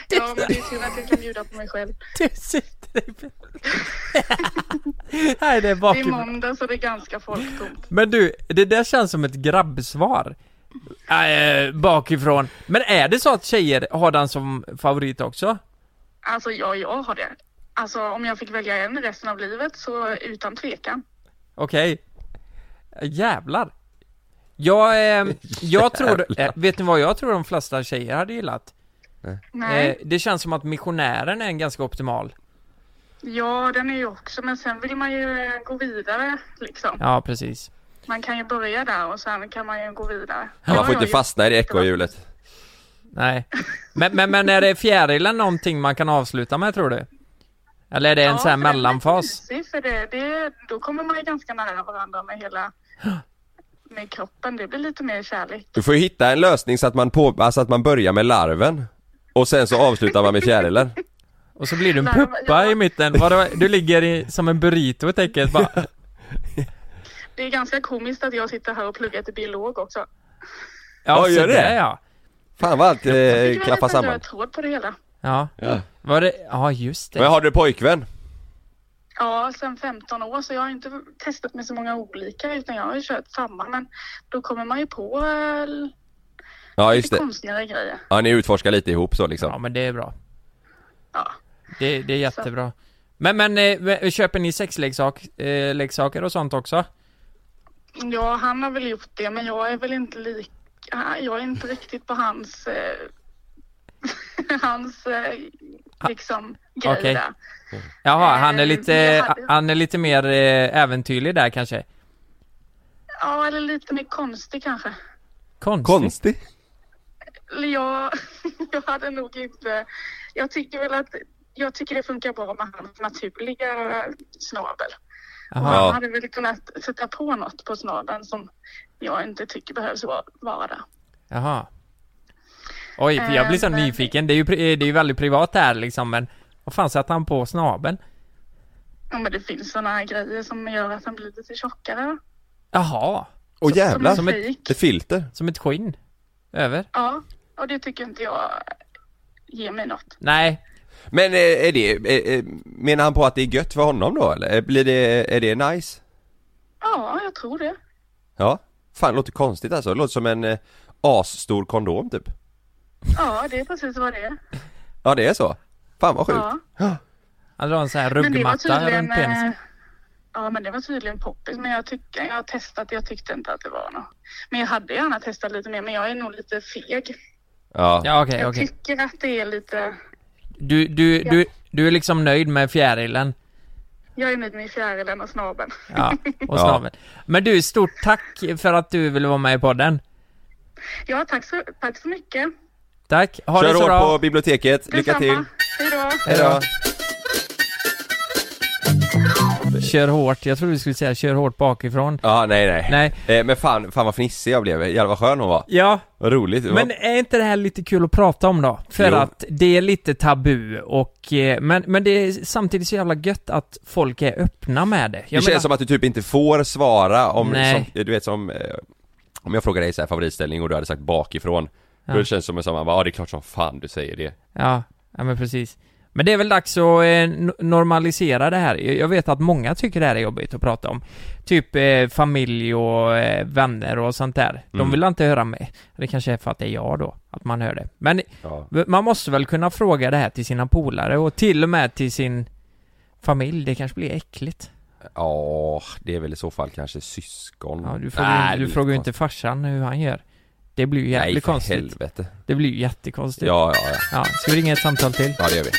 S10: Ja, men det är synd att jag kan bjuda på mig själv.
S9: Du sitter i... Nej, det är
S10: Det är
S9: bakifrån.
S10: måndag så det är ganska folktomt.
S9: Men du, det där känns som ett grabbsvar. Äh, bakifrån. Men är det så att tjejer har den som favorit också?
S10: Alltså, ja, jag har det. Alltså, om jag fick välja en resten av livet så utan tvekan.
S9: Okej. Jävlar. Jag, eh, jag tror, eh, vet ni vad jag tror de flesta tjejer hade gillat?
S10: Nej,
S9: Eh, det känns som att missionären är en ganska optimal.
S10: ja, den är ju också, men sen vill man ju eh, gå vidare liksom.
S9: Ja, precis.
S10: Man kan ju börja där och sen kan man ju gå vidare.
S7: Man får
S10: Ja,
S7: inte
S10: ja,
S7: fastna i det ekorrhjulet.
S9: Nej. Men, men, men är det fjärilen någonting man kan avsluta med tror du? Eller är det en sån här
S10: för den är
S9: mellanfas?
S10: mysig, för det, det, då kommer man ju ganska nära varandra med hela med kroppen. Det blir lite mer kärlek.
S7: Du får ju hitta en lösning så att man, på, alltså att man börjar med larven. Och sen så avslutar man med fjärilen.
S9: Och så blir du en
S10: Nej,
S9: puppa i mitten, Vadå? du ligger i, som en burrito helt enkelt bara
S10: Det är ganska komiskt att jag sitter här och pluggar till biolog också.
S9: Ja,
S7: gör
S9: så
S7: det?
S9: där, ja.
S7: Fan vad allt
S10: Det
S7: eh,
S10: var
S7: klaffar
S10: nästan
S7: samman.
S10: röd tråd på det hela.
S9: Ja. Var det, ja just det.
S7: Men har du pojkvän?
S10: Ja, sedan 15 år så jag har inte testat med så många olika utan jag har ju kört samma. Men då kommer man ju på eh,
S7: Ja just
S10: lite
S7: det.
S10: konstigare grejer.
S7: Ja ni utforskar lite ihop så liksom.
S9: Ja men det är bra.
S10: Ja.
S9: Det, det är jättebra. Men, men eh, köper ni sexleksaker eh, leksaker och sånt också?
S10: Ja, han har väl gjort det, men jag är väl inte lik... Jag är inte riktigt på hans... Eh, hans, eh,
S7: Ah.
S10: liksom, grej
S9: okej.
S10: där.
S9: Jaha, han är
S10: Eh,
S9: lite,
S10: jag hade-
S9: han är lite mer eh, äventyrlig där kanske?
S10: Ja, eller lite mer konstig kanske.
S9: Konstig?
S10: Eller Jag, jag hade nog inte... Jag tycker väl att... Jag tycker det funkar bra med hans naturliga snabel. Och
S9: Jaha.
S10: Han
S9: Ja.
S10: hade väl kunnat sätta på något på snabeln som jag inte tycker behövs vara- vara där.
S9: Jaha. Oj, för jag blir så
S10: Eh, men-
S9: nyfiken. Det är ju, pri- eh, det är ju väldigt privat det här liksom men vad fan satte han på snabeln?
S10: Ja, men det finns sådana här grejer som gör att han blir lite tjockare.
S9: Jaha.
S7: Åh jävlar!
S9: Som ett,
S10: Fik.
S7: Ett filter.
S9: som ett skinn? Över?
S10: Ja, och det tycker inte jag ger mig något.
S9: Nej.
S7: Men eh, är det, eh, eh, menar han på att det är gött för honom då eller? Eh, Blir det, är det nice?
S10: Ja, jag tror det.
S7: Ja. Fan det låter konstigt alltså, det låter som en eh, asstor kondom typ.
S10: Ja, det är precis vad det är.
S7: Ja det är så? Fan vad sjukt.
S10: Ja.
S9: Han drar en sån här
S10: Men det var
S9: ruggmatta
S10: tydligen...
S9: runt penisen.
S10: eh, Ja, men det var tydligen poppis. Men jag, tyck, jag har testat, jag tyckte inte att det var något. Men jag hade gärna testat lite mer, men jag är nog lite feg.
S7: Ja.
S9: Ja okej,
S10: jag
S9: okej.
S10: tycker att det är lite...
S9: Du, du, du, du är liksom nöjd med fjärilen?
S10: Jag är nöjd med fjärilen och snabeln.
S9: Ja, och snaveln. Men du, stort tack för att du ville vara med i podden.
S10: Ja, tack så, tack så mycket.
S9: Tack, ha
S7: Kör
S9: det så
S7: hårt på
S9: bra.
S7: biblioteket, lycka till!
S10: Detsamma. Hej då.
S7: Hejdå!
S9: Kör hårt, jag trodde vi skulle säga kör hårt bakifrån.
S7: Ja, nej nej.
S9: Nej.
S7: Eh, men fan, fan vad fnissig jag blev, jävlar vad skön hon var.
S9: Ja,
S7: Vad roligt. Det var-
S9: men är inte det här lite kul att prata om då? För
S7: Jo.
S9: att det är lite tabu och, eh, men, men det är samtidigt så jävla gött att folk är öppna med det.
S7: det känns som att du typ inte får svara om,
S9: Nej.
S7: som, du vet som, eh, om jag frågar dig så här favoritställning och du hade sagt bakifrån.
S9: Ja.
S7: Då känns det som att man bara, ja det är klart som fan du säger det.
S9: Ja, ja men precis. Men det är väl dags att eh, n- normalisera det här. Jag jag vet att många tycker det här är jobbigt att prata om. Typ eh, familj och eh, vänner och sånt där. De
S7: Mm.
S9: vill inte höra mig. Det kanske är för att det är jag då, att man hör det. Men
S7: Ja.
S9: v- man måste väl kunna fråga det här till sina polare och till och med till sin familj. Det kanske blir äckligt.
S7: Ja, det är väl i så fall kanske syskon.
S9: Ja, du frågar,
S7: Nej,
S9: du
S7: det
S9: frågar ju
S7: blir
S9: inte farsan hur han gör. Det blir ju jävligt
S7: Nej, för
S9: konstigt. Typ.
S7: helvete.
S9: Det blir ju jättekonstigt.
S7: Ja, ja, ja.
S9: ja. Ska vi ringa ett samtal till?
S7: Ja, det gör vi.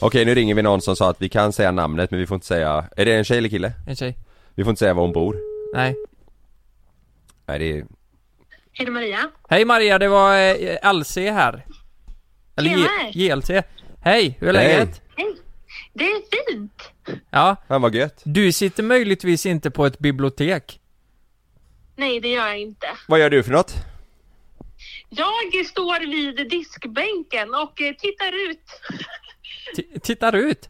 S7: Okej, nu ringer vi någon som sa att vi kan säga namnet men vi får inte säga... Är det en tjej eller kille?
S9: En tjej?
S7: Vi får inte säga var hon bor.
S9: Nej.
S7: Nej, det är...
S10: Är det Maria?
S9: Hej Maria, det var eh, LC här. Eller
S10: Tjenare.
S9: J- JLC. Hej, hur är
S7: Hej.
S9: läget?
S10: Det är fint.
S9: Ja,
S7: Fan vad gött.
S9: du sitter möjligtvis inte på ett bibliotek.
S10: Nej, det gör jag inte.
S7: Vad gör du för något?
S10: Jag står vid diskbänken och eh, tittar ut.
S9: T- tittar ut.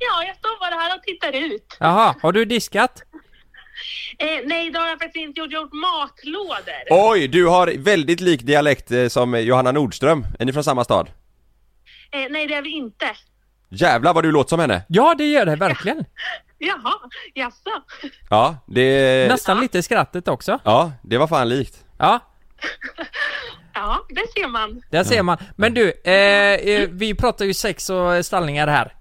S10: Ja, jag står bara här och tittar ut.
S9: Jaha, har du diskat?
S10: Eh, nej, det har jag faktiskt inte gjort. Jag har gjort matlådor.
S7: Oj, du har väldigt lik dialekt eh, som Johanna Nordström. Är ni från samma stad?
S10: Eh, nej, det har vi inte.
S7: Jävlar vad du låter som henne!
S9: Ja, det gör det verkligen.
S10: Jaha, jaså?
S7: Ja, det...
S9: Nästan lite skrattet också.
S7: Ja, det var fan likt.
S9: Ja,
S10: Ja, det ser man.
S9: där ser man. Men du, eh, eh, vi pratar ju sex och eh, ställningar här.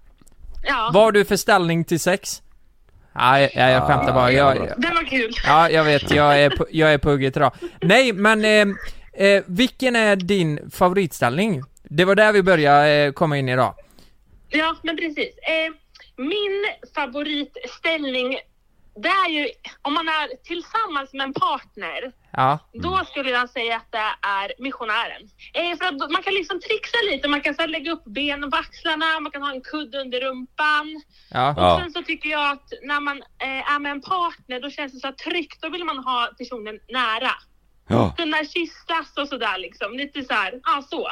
S10: Ja,
S9: Vad har du för ställning till sex? Nej, ja, jag skämtar bara. Jag,
S10: det var kul.
S9: Ja, jag vet. Jag är på, jag är på hugget idag. Nej, men eh, eh, vilken är din favoritställning? Det var där vi började eh, komma in idag.
S10: Ja, men precis. Eh, min favoritställning det är ju, om man är tillsammans med en partner,
S9: Ja.
S10: då skulle jag säga att det är missionären. Eh, för att man kan liksom trixa lite, man kan så här lägga upp benen på axlarna, man kan ha en kudde under rumpan.
S9: Ja.
S10: Och
S9: Ja.
S10: sen så tycker jag att när man eh, är med en partner, då känns det så här tryggt, då vill man ha personen nära.
S7: Ja.
S10: Kunna kyssas och sådär liksom, lite så här, ja så.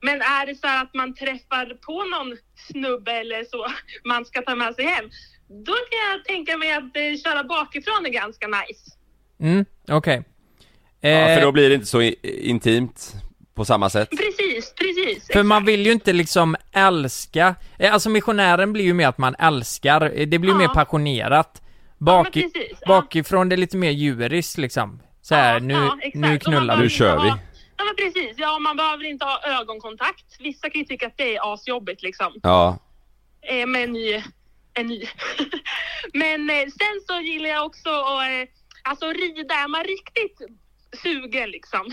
S10: Men är det så här att man träffar på någon snubbe eller så man ska ta med sig hem, då kan jag tänka mig att eh, köra bakifrån är ganska nice.
S9: Mm, okej.
S7: Ja,
S9: Eh,
S7: för då blir det inte så i- intimt på samma sätt.
S10: Precis, precis.
S9: För man vill ju inte liksom älska, eh, alltså missionären blir ju mer att man älskar, Eh, det blir ju mer passionerat. Bak, Bakifrån det är lite mer djuriskt liksom. Så här, nu, nu knullar vi.
S7: Nu kör vi.
S10: Ja men precis, ja man behöver inte ha ögonkontakt. Vissa kan ju tycka att det är asjobbigt liksom.
S7: Ja.
S10: eh, med en ny. En ny. Men eh, sen så gillar jag också att eh, alltså rida. Är man riktigt sugen liksom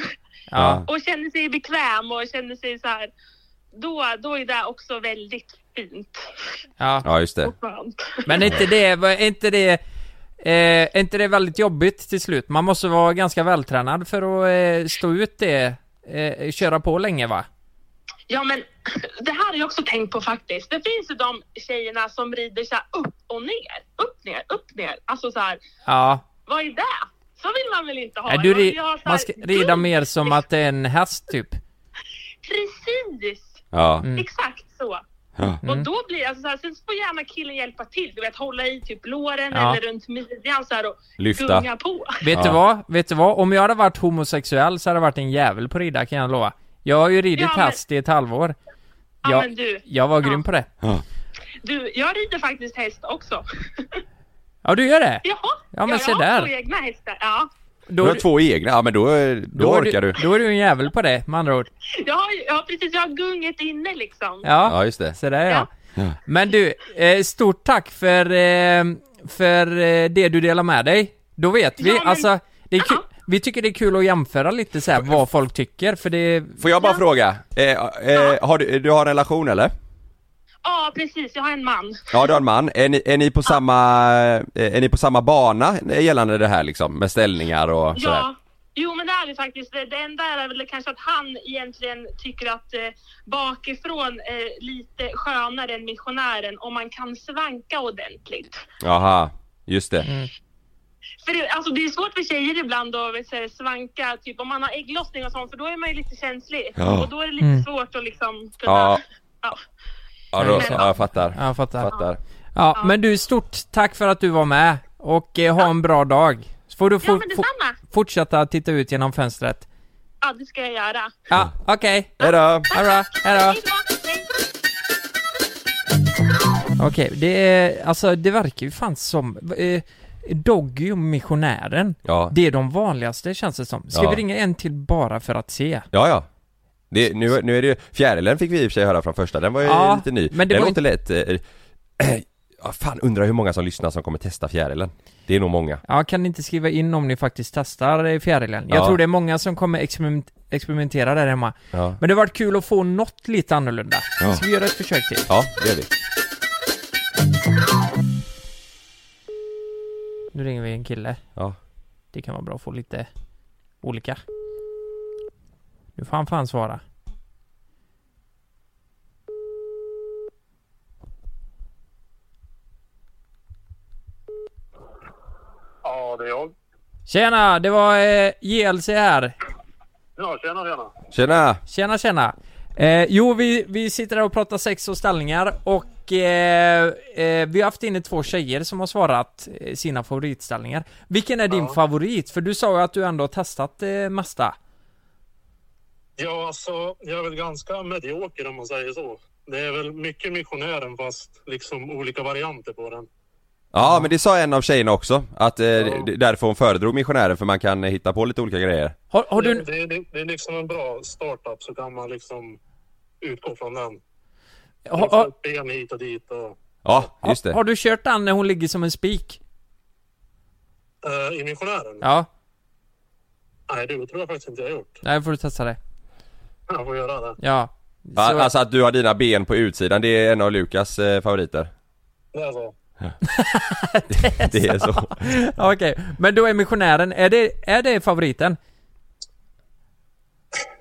S9: Ja.
S10: och känner sig bekväm och känner sig så här. Då, då är det också väldigt fint.
S9: Ja.
S7: ja, just det.
S10: och skönt.
S9: Men är inte det, vad- är inte det, eh, är inte det väldigt jobbigt till slut? Man måste vara ganska vältränad för att eh, stå ut det, eh, köra på länge va?
S10: Ja men det här har jag också tänkt på faktiskt. Det finns ju de tjejerna som rider så här upp och ner, upp ner, upp ner. Alltså så här,
S9: Ja.
S10: vad är det? Så vill man väl inte ha?
S9: Nej, du
S10: Man vill
S9: ri-
S10: ju ha så här-
S9: man ska rida mer som att det är en häst typ.
S10: Precis!
S7: Ja.
S10: Mm.
S9: Mm.
S10: Exakt så.
S7: Ja.
S10: Och då blir alltså så här, sen så får gärna killen hjälpa till. Du vet hålla i typ låren
S9: Ja.
S10: eller runt midjan så här och
S9: Lyfta.
S10: gunga på.
S9: Vet du vad? Vet du vad? Om jag hade varit homosexuell så hade jag varit en jävel på rida kan jag lova. Jag har ju ridit
S10: Ja, men-
S9: häst i ett halvår.
S10: Ja,
S9: Jag,
S10: men du-
S9: jag var
S10: ja.
S9: grym på det.
S10: Du, jag rider faktiskt häst också.
S9: Ja, du gör det?
S10: Jaha!
S9: Ja, men
S10: jag
S9: se
S10: har
S9: där.
S10: två egna hästar. Ja.
S7: Du har två egna, ja men då, då,
S9: är
S7: orkar du.
S9: Då är du en jävel på det med andra ord.
S10: Jag har, ju- jag har precis, jag har gunget inne liksom.
S9: Ja,
S7: Ja, just det.
S9: Så där ja. Men du, eh, stort tack för, eh, för eh, det du delar med dig. Då vet vi,
S7: Ja, men-
S9: alltså, det är kul, vi tycker det är kul att jämföra lite så här vad folk tycker, för det...
S7: Får jag bara fråga? Eh, eh, har du, du har en relation eller?
S10: Ja, precis. Jag har en man.
S7: Ja du har en man. Är ni, är ni på samma, eh, är ni på samma bana gällande det här liksom? Med ställningar och sådär?
S10: Ja. Jo, men det är vi faktiskt. Det det enda är väl kanske att han egentligen tycker att eh, bakifrån är lite skönare än missionären om man kan svanka ordentligt.
S7: Jaha, just det.
S10: För det, alltså, det är svårt för tjejer ibland att vet, så här, svanka, typ om man har ägglossning och sånt, för då är man ju lite känslig.
S7: Ja.
S10: Och då är det lite
S9: Mm.
S10: svårt att liksom kunna...
S7: Ja.
S10: Ja.
S7: Ja, då,
S9: Men-
S7: ja jag fattar.
S9: Ja, jag fattar.
S7: fattar.
S9: Ja, men du, stort tack för att du var med och eh, ha en bra dag. Så får du for,
S10: men
S9: for,
S10: detsamma.
S9: fortsätta titta ut genom fönstret.
S10: ja, det ska jag göra.
S9: Ja,
S7: Mm.
S9: okej.
S7: Hejdå!
S9: Hejdå! Hejdå! Okej, det är, alltså det verkar ju fan som, eh, Doggy och missionären,
S7: Ja.
S9: det är de vanligaste känns det som. Ska
S7: Ja.
S9: vi ringa en till bara för att se?
S7: Ja, ja. Det, nu, nu är det ju, fjärilen fick vi i och för sig höra från första, den var ju
S9: Ja,
S7: lite ny.
S9: men det
S7: den
S9: var
S7: var inte lätt. Eh, ja, fan, undrar hur många som lyssnar som kommer testa fjärilen. Det är nog många.
S9: Ja, kan ni inte skriva in om ni faktiskt testar eh, fjärilen? Jag
S7: Ja.
S9: tror det är många som kommer experiment, experimentera där hemma.
S7: Ja.
S9: Men det har varit kul att få något lite annorlunda.
S7: Ja.
S9: Ska vi göra ett försök till?
S7: Ja, det gör vi.
S9: Nu ringer vi en kille.
S7: Ja.
S9: Det kan vara bra att få lite olika. Nu får han fan svara.
S11: Ja, det är jag.
S9: Tjena, det var eh, JLC här.
S11: Ja, tjena, tjena.
S7: Tjena!
S9: Tjena tjena! Eh, jo, vi, vi sitter här och pratar sex och ställningar och eh, eh, vi har haft inne två tjejer som har svarat eh, sina favoritställningar. Vilken är din favorit? För du sa ju att du ändå har testat eh, mesta.
S11: Ja, alltså, jag är väl ganska medioker om man säger så. Det är väl mycket missionären fast liksom olika varianter på den.
S7: Ja, men det sa en av tjejerna också, att eh, det- därför hon föredrog missionären för man kan eh, hitta på lite olika grejer.
S11: det, det, det, det är liksom en bra startup så kan man liksom utgå från den.
S9: Har-
S11: Man får
S9: har-
S11: ett ben hit och dit och...
S7: Ja, just det.
S9: Har du kört den när hon ligger som en spik?
S11: Eh, I missionären?
S9: Ja,
S11: Nej, det tror jag faktiskt inte jag har gjort.
S9: nej får du testa det.
S11: Jag får göra det.
S9: Ja.
S7: Ja,
S9: Så-
S7: Alltså att du har dina ben på utsidan, det är en av Lukas eh, favoriter.
S11: Det är så.
S7: Det är så.
S9: Okej, men då är missionären, är det, är det favoriten?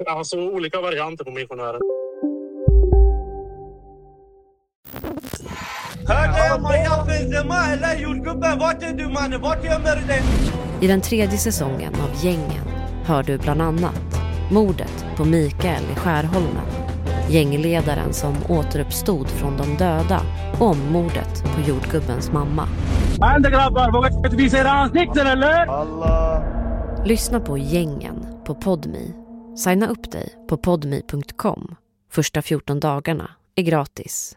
S11: Alltså olika varianter på missionären.
S12: هذا يا ما يحفظ ما لا يلقب vart är du mannen, vart gömmer du dig?
S13: I den tredje säsongen av Gängen hör du bland annat mordet på Mikael i Skärholmen, gängledaren som återuppstod från de döda och om mordet på jordgubbens mamma.
S14: ما عندك غبار بغيت تبيسير راسك نكتر ولا؟ الله
S13: Lyssna på Gängen på Podmi. Signa upp dig på podmi.com. Första 14 dagarna är gratis.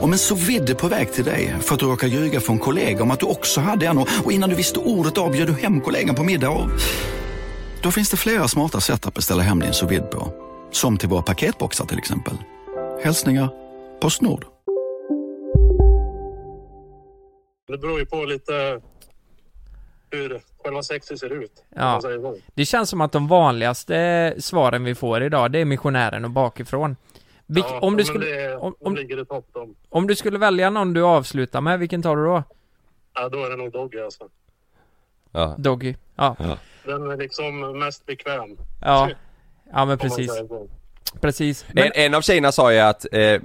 S15: Om en så vidde på väg till dig för att du råkar ljuga från kollega om att du också hade en och och innan du visste ordet av bjöd du hem kollegan på middag och... Då finns det flera smarta sätt att beställa hem din sous vide på. Som till våra paketboxar till exempel. Hälsningar Postnord.
S11: Det beror ju på lite hur själva sexet ser ut. om
S9: Ja.
S11: man säger så.
S9: Det känns som att de vanligaste svaren vi får idag, det är missionären och bakifrån. Vilk,
S11: Ja,
S9: om, du
S11: men
S9: skulle,
S11: Det, om, om... ligger i topp de.
S9: om du skulle välja någon du avslutar med, vilken tar du då?
S11: Ja, då är det nog Dogge alltså.
S7: Ja.
S9: Doggy? Ja.
S7: Ja.
S11: Den är liksom mest bekväm.
S9: Ja, ja
S11: Om man
S9: men precis.
S11: säger så.
S9: Precis.
S7: En, en av tjejerna sa ju att eh,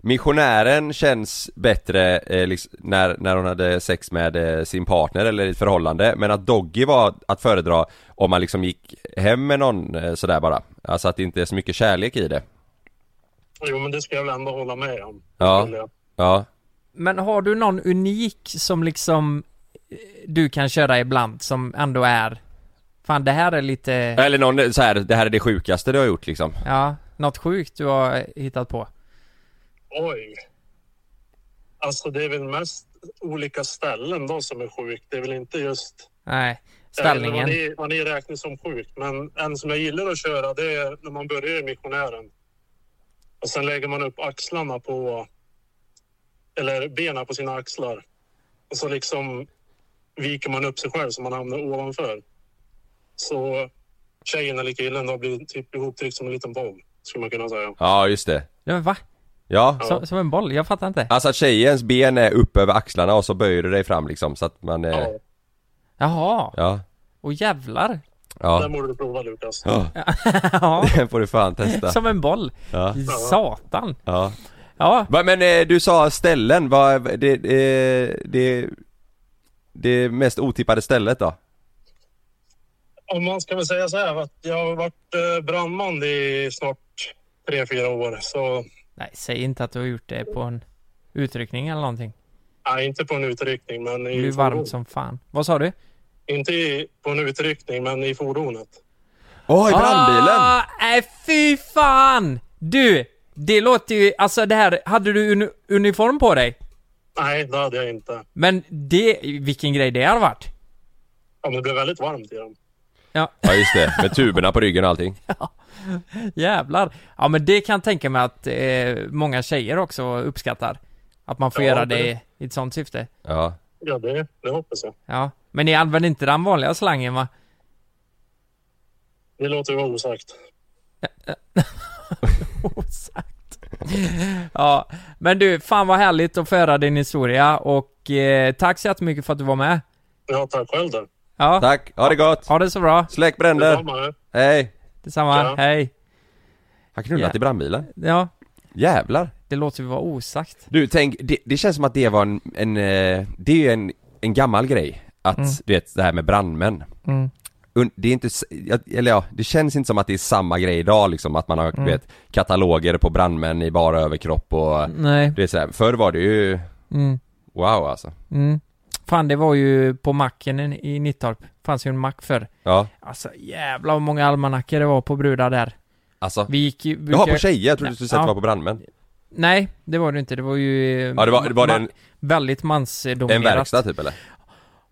S7: missionären känns bättre eh, liksom, när, när hon hade sex med eh, sin partner eller i ett förhållande Men att Doggy var att föredra om man liksom gick hem med någon eh, sådär bara Alltså att det inte är så mycket kärlek i det
S11: Jo, men det ska jag väl ändå hålla med om.
S7: Ja, ja
S9: Men har du någon unik som liksom eh, du kan köra ibland som ändå är Fan det här är lite
S7: Eller någon eh, så här, det här är det sjukaste du har gjort liksom
S9: Ja, något sjukt du har hittat på
S11: Oj. Alltså det är väl mest olika ställen då som är sjukt. Det är väl inte just...
S9: Nej,
S11: Jag
S9: ställningen
S11: vet inte Vad ni, vad ni räknar som sjukt. Men en som jag gillar att köra det är när man börjar i missionären. Och sen lägger man upp axlarna på... Eller benen på sina axlar. Och så liksom viker man upp sig själv så man hamnar ovanför. Så tjejen eller killen då blir typ ihoptryckt som en liten boll. Skulle man kunna säga.
S7: Ja just det
S9: Ja men va?
S7: Ja
S9: Som, som en boll, jag fattar inte
S7: Alltså att tjejens ben är upp över axlarna och så böjer du dig fram liksom så att man eh,
S9: Jaha,
S7: Ja,
S9: och jävlar
S7: ja,
S11: borde du prova Lukas.
S7: ja.
S9: Ja,
S7: Den får du fan testa
S9: som en boll
S7: Ja.
S9: Satan
S7: Ja.
S9: Ja.
S7: Va, men eh, du sa ställen, vad, det, eh, det, det mest otippade stället då?
S11: Om man ska väl säga så här att jag har varit eh, brandman i snart tre, fyra år. Så
S9: Nej, säg inte att du har gjort det på en utryckning eller någonting
S11: nej, inte på en utryckning men
S9: Det
S11: i
S9: blir varmt som fan Vad sa du?
S11: Inte i, på en utryckning men i fordonet.
S7: Åh,
S11: i brandbilen.
S9: Ah, Nej, fy fan! Du! Det låter ju, alltså det här, hade du uni- uniform på dig?
S11: Nej, det hade jag inte.
S9: Men det, vilken grej det har varit!
S11: Ja, men det blev väldigt varmt i dem.
S7: Ja just det, med tuberna på ryggen och allting
S9: Jävlar! Ja men det kan jag tänka mig att eh, många tjejer också uppskattar. Att man får
S11: Ja,
S9: göra
S11: men-
S9: det i i ett sånt syfte.
S7: Ja
S11: Ja, det, det hoppas jag.
S9: Ja. Men ni använder inte den vanliga slangen va?
S11: Det låter ju vara osagt.
S9: Osagt. ja, men du, fan vad härligt att få höra din historia och eh, tack så jättemycket för att du var med.
S11: Ja, tack själv då.
S9: Ja.
S7: Tack, ha det gott!
S9: Ha det så bra!
S7: Släck bränder!
S11: Detsamma.
S7: Hej!
S9: Detsamma,
S7: Tja.
S9: hej!
S7: Han knullat
S9: Ja.
S7: i brandbilen?
S9: Ja,
S7: Jävlar!
S9: det låter ju vara osagt.
S7: Du tänk, det, det känns som att det var en, en eh, det är ju en, en gammal grej Att,
S9: Mm.
S7: du vet det här med brandmän
S9: Mm.
S7: Und- Det är inte, s- jag- eller ja, det känns inte som att det är samma grej idag liksom att man har,
S9: Mm.
S7: du vet, kataloger på brandmän i bara överkropp och
S9: Nej.
S7: Det är sådär, förr var det ju,
S9: Mm.
S7: wow alltså
S9: Mm. Fan, det var ju på macken i- i Nittorp. Fanns ju en mack förr.
S7: Ja,
S9: Alltså jävlar vad många almanackor det var på brudar där.
S7: alltså
S9: Vi gick ju...
S7: Jaha, på tjejer, jag trodde du skulle säga att det var på brandmän
S9: Nej, det var det inte. Det var ju... eh,
S7: Ja, det var- det var
S9: ma-
S7: en-
S9: Väldigt mansdominerat.
S7: En verkstad typ eller?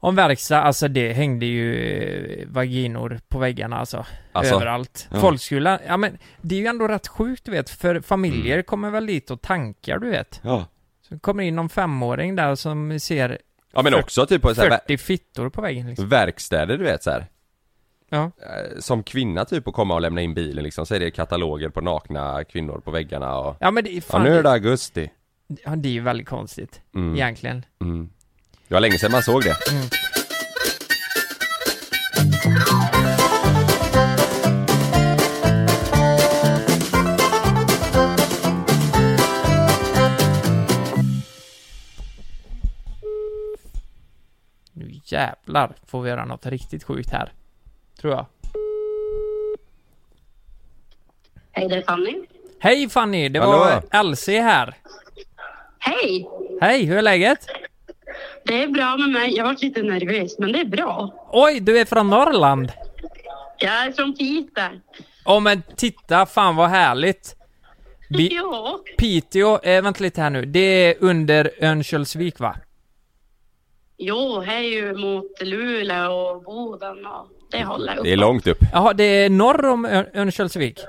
S9: Om verkstad, alltså det hängde ju eh, vaginor på väggarna alltså.
S7: Alltså?
S9: Överallt.
S7: Ja.
S9: Folk skulle, ja men det är ju ändå rätt sjukt du vet, för familjer
S7: Mm.
S9: kommer väl dit och tankar du vet.
S7: Ja.
S9: Så kommer in någon femåring där som ser
S7: Ja men
S9: fyrt-
S7: också typ på så här, ver-
S9: 40 fittor på väggen
S7: Mm.
S9: liksom.
S7: verkstäder du vet så här.
S9: Ja.
S7: Eh, Som kvinna typ att komma och lämna in bilen liksom, så är det kataloger på nakna kvinnor på väggarna och
S9: Ja, men det är fan-
S7: ja, nu är det augusti
S9: Ja, det är ju väldigt konstigt.
S7: Mm.
S9: Egentligen.
S7: mm. Det var länge sedan man såg det
S9: Mm. Nu jävlar får vi göra något riktigt sjukt här. Tror jag.
S10: Hej, det är Fanny.
S9: Hej Fanny! Det
S10: Hallå.
S9: var Elsie här.
S10: Hej!
S9: Hej, hur är läget?
S10: Det är bra med mig. Jag har varit lite nervös, men det är bra.
S9: Oj, du är från Norrland!
S10: Jag är från Piteå.
S9: Åh men titta, fan vad härligt! Vi,
S10: Ja,
S9: Piteå, eh, vänta lite här nu, det är under Örnsköldsvik va?
S10: jo, här är ju mot Luleå och Boden och det håller upp.
S7: Det är långt upp
S9: Jaha, det är norr om Ör- Örnsköldsvik?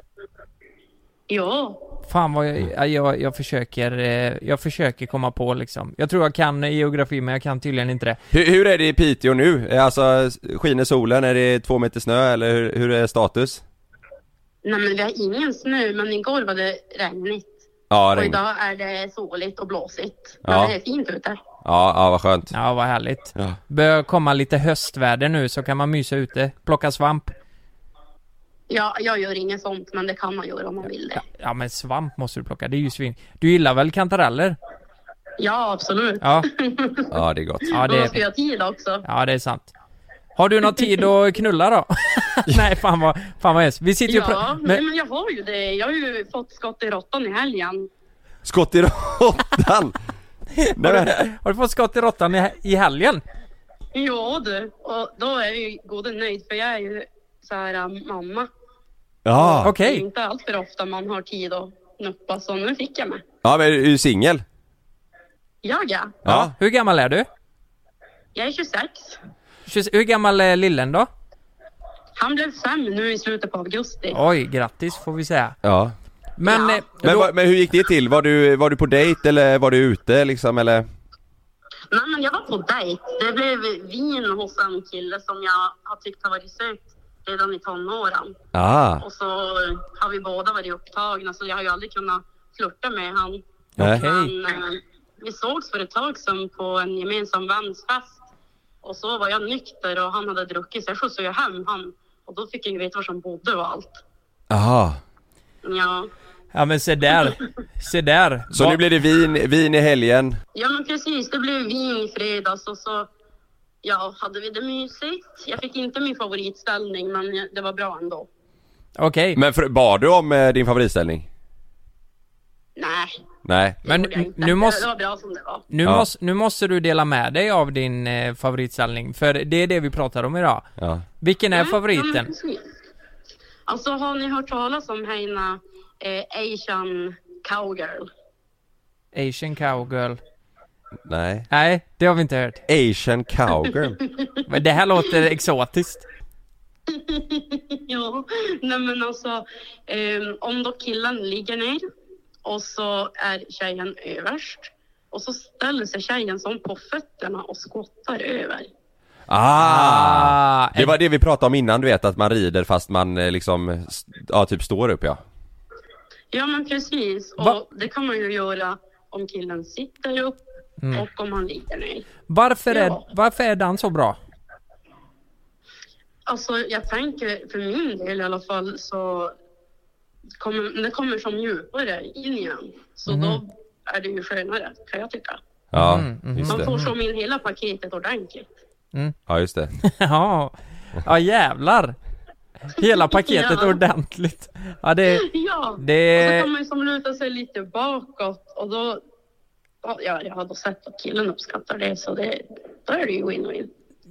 S10: Ja,
S9: Fan vad jag, ja, jag, jag försöker, eh, jag försöker komma på liksom. Jag tror jag kan eh, geografi men jag kan tydligen inte det.
S7: hur, hur är det i Piteå nu? Eh, Alltså, skiner solen? Är det två meter snö eller hur, hur är status?
S10: nej men vi har ingen snö, men igår var det regnigt.
S7: Ja,
S10: och
S7: regn Ja,
S10: idag är det soligt och blåsigt. Men
S9: Ja.
S10: det är fint ute.
S7: ja vad skönt
S9: Ja, vad härligt. Börjar komma lite höstväder nu så kan man mysa ute, plocka svamp.
S10: Ja, jag gör inget sånt, men det kan man göra om man vill det.
S9: Ja men svamp måste du plocka, det är ju svin. Du gillar väl kantareller?
S10: Ja, absolut.
S9: Ja.
S7: Ja, det är gott
S9: Ja,
S10: Och
S9: det
S10: då
S9: är
S10: ska jag ha tid också.
S9: Ja, det är sant. Har du någon tid att knulla då? Nej, fan vad, fan vad hemskt. Vi sitter ju och
S10: ja,
S9: pra-
S10: nej, men jag har ju det. Jag har ju fått skott i råttan i helgen.
S7: Skott i råttan! Nej,
S9: har,
S7: men,
S9: du, har du fått skott i råttan i, i helgen?
S10: Ja du, och då är jag ju god och nöjd för jag är ju så här äh, mamma.
S7: ja.
S10: Det är inte allt för ofta man har tid att nuppa så nu fick jag mig.
S7: ja, men är du singel?
S10: Jag ja,
S7: Ja.
S9: Hur gammal är du?
S10: jag är 26.
S9: 26 Hur gammal är lillen då?
S10: Han blev fem nu i slutet på augusti.
S9: Oj, grattis får vi säga.
S7: Ja
S9: Men, eh,
S7: Men,
S9: då,
S7: vad- men hur gick det till? Var du, var du på dejt eller var du ute liksom eller?
S10: Nej men jag var på dejt. Det blev vin hos en kille som jag har tyckt har varit söt redan i tonåren.
S7: Ah.
S10: Och så har vi båda varit upptagna så jag har ju aldrig kunnat flirta med han.
S7: Nej.
S10: Men eh, vi sågs för ett tag sedan på en gemensam vänsfest. Och så var jag nykter och han hade druckit så jag skjutsade ju hem han. Och då fick jag ju veta var som bodde och allt.
S7: Aha.
S10: Ja,
S9: ja men se där. Se där.
S7: Så
S9: Va-
S7: nu blir det vin, vin i helgen?
S10: ja men precis. Det blev vin i fredags och så ja, hade vi det mysigt. Jag fick inte min favoritställning men det var bra ändå.
S9: Okej.
S7: Men för, bad du om eh, din favoritställning?
S10: Nej,
S7: Nej.
S9: Men
S10: det gjorde jag inte.
S9: nu måste-
S10: Det var bra som det var.
S9: Nu,
S7: Ja.
S9: måste, nu måste du dela med dig av din eh, favoritställning, för det är det vi pratar om idag.
S7: Ja.
S9: Vilken är
S10: Mm, ja, men
S9: favoriten?
S10: precis. Alltså har ni hört talas om henne eh, Asian cowgirl? mm.
S9: Asian cowgirl.
S7: Nej.
S9: Nej, det har vi inte hört.
S7: Asian cowgirl.
S9: Men det här låter exotiskt.
S10: ja, nej men alltså ehm, om då killen ligger ner och så är tjejen överst och så ställer sig tjejen som på fötterna och skottar över.
S7: Ah! Det var det vi pratade om innan du vet, att man rider fast man eh, liksom, st- ja typ står upp ja.
S10: Ja men precis och det kan man ju göra om killen sitter upp
S9: Mm.
S10: och om han ligger ner.
S9: Varför är,
S10: Ja.
S9: varför är den så bra?
S10: Alltså jag tänker för min del i alla fall så kommer det kommer som djupare in igen. Så
S9: Mhm.
S10: då är det ju skönare kan jag tycka.
S7: Ja, just
S10: Man får
S9: Mm.
S7: det.
S10: som in hela paketet ordentligt.
S7: Ja, just det.
S9: ja. ja, jävlar! Hela paketet
S10: Ja.
S9: ordentligt. Ja, det,
S10: Ja, och så
S9: det,
S10: kan man ju som luta sig lite bakåt och då, ja, jag har då sett att killen uppskattar det så det, då är det ju win-win.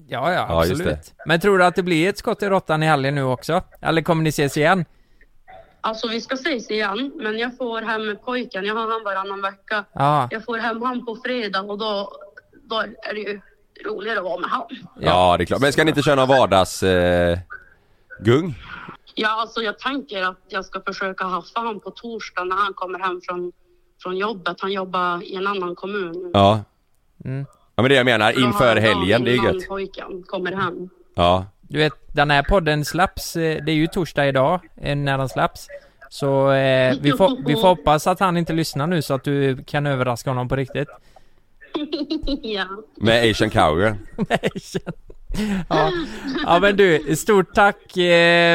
S9: ja, ja,
S7: Ja, just
S9: absolut. Men tror du att det blir ett skott i råttan i helgen nu också? Eller kommer ni ses igen?
S16: Alltså vi ska ses igen, men jag får hem pojken. Jag har han varannan vecka.
S9: Ja.
S16: Jag får hem han på fredag och då, då är det ju roligare att vara med han.
S7: Ja, det är klart. Men ska ni inte köra någon vardags... Eh, gung?
S16: Ja, alltså jag tänker att jag ska försöka haffa han på torsdag när han kommer hem från, från jobbet. Han jobbar i en annan kommun.
S7: Ja.
S9: Mm.
S7: Ja men det är det jag menar, inför helgen, det är
S16: Innan
S7: gött.
S16: pojken kommer hem.
S7: Ja.
S9: Du vet, den här podden släpps, eh, det är ju torsdag idag eh, när den släpps. Så eh, vi, får, vi får hoppas att han inte lyssnar nu så att du kan överraska honom på riktigt.
S16: ja.
S7: Med Asian Cowgirl.
S9: Ja, ja men du, stort tack eh,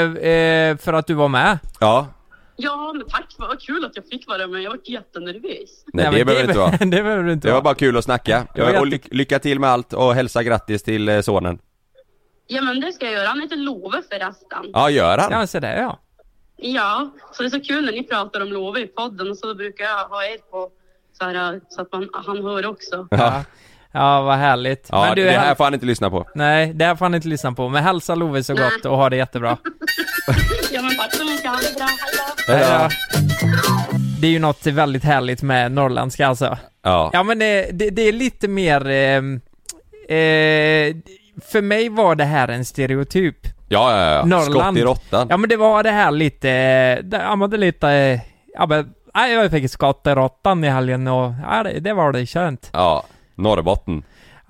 S9: eh, för att du var med.
S7: Ja.
S16: ja, men tack. Vad kul att jag fick vara med. Jag var jättenervös.
S7: Nej, det behöver det inte vara.
S9: det behöver du inte
S7: Det var bara kul att snacka.
S9: Det var
S7: Och ly- lycka till med allt och hälsa grattis till eh, sonen.
S16: Ja, men det ska jag göra. Han heter Love förresten.
S7: Ja, gör han?
S9: så där ja.
S16: Ja, så det är så kul när ni pratar om Love i podden och så brukar jag ha er på så, här, så att man, han hör också.
S9: Ja, ja vad härligt.
S7: Ja,
S9: Men du,
S7: det här
S9: häl-
S7: får han inte lyssna på.
S9: Nej, det här får han inte lyssna på. Men hälsa Love så
S16: Nej.
S9: gott och ha det jättebra.
S16: Ja, men tack så mycket. Ha det bra. Hej då.
S9: Hej då. Det är ju något väldigt härligt med norrländska alltså.
S7: Ja.
S9: Ja men eh, det, det är lite mer... ehm, eh, för mig var det här en stereotyp.
S7: Ja, ja, ja. Skott
S9: Norrland.
S7: i råttan.
S9: Ja men det var det här lite... eh, det- Ja men det är lite... eh, Ja men... Nej, jag fick skott i råttan i helgen och... Ja, det, det var det skönt.
S7: Ja, Norrbotten.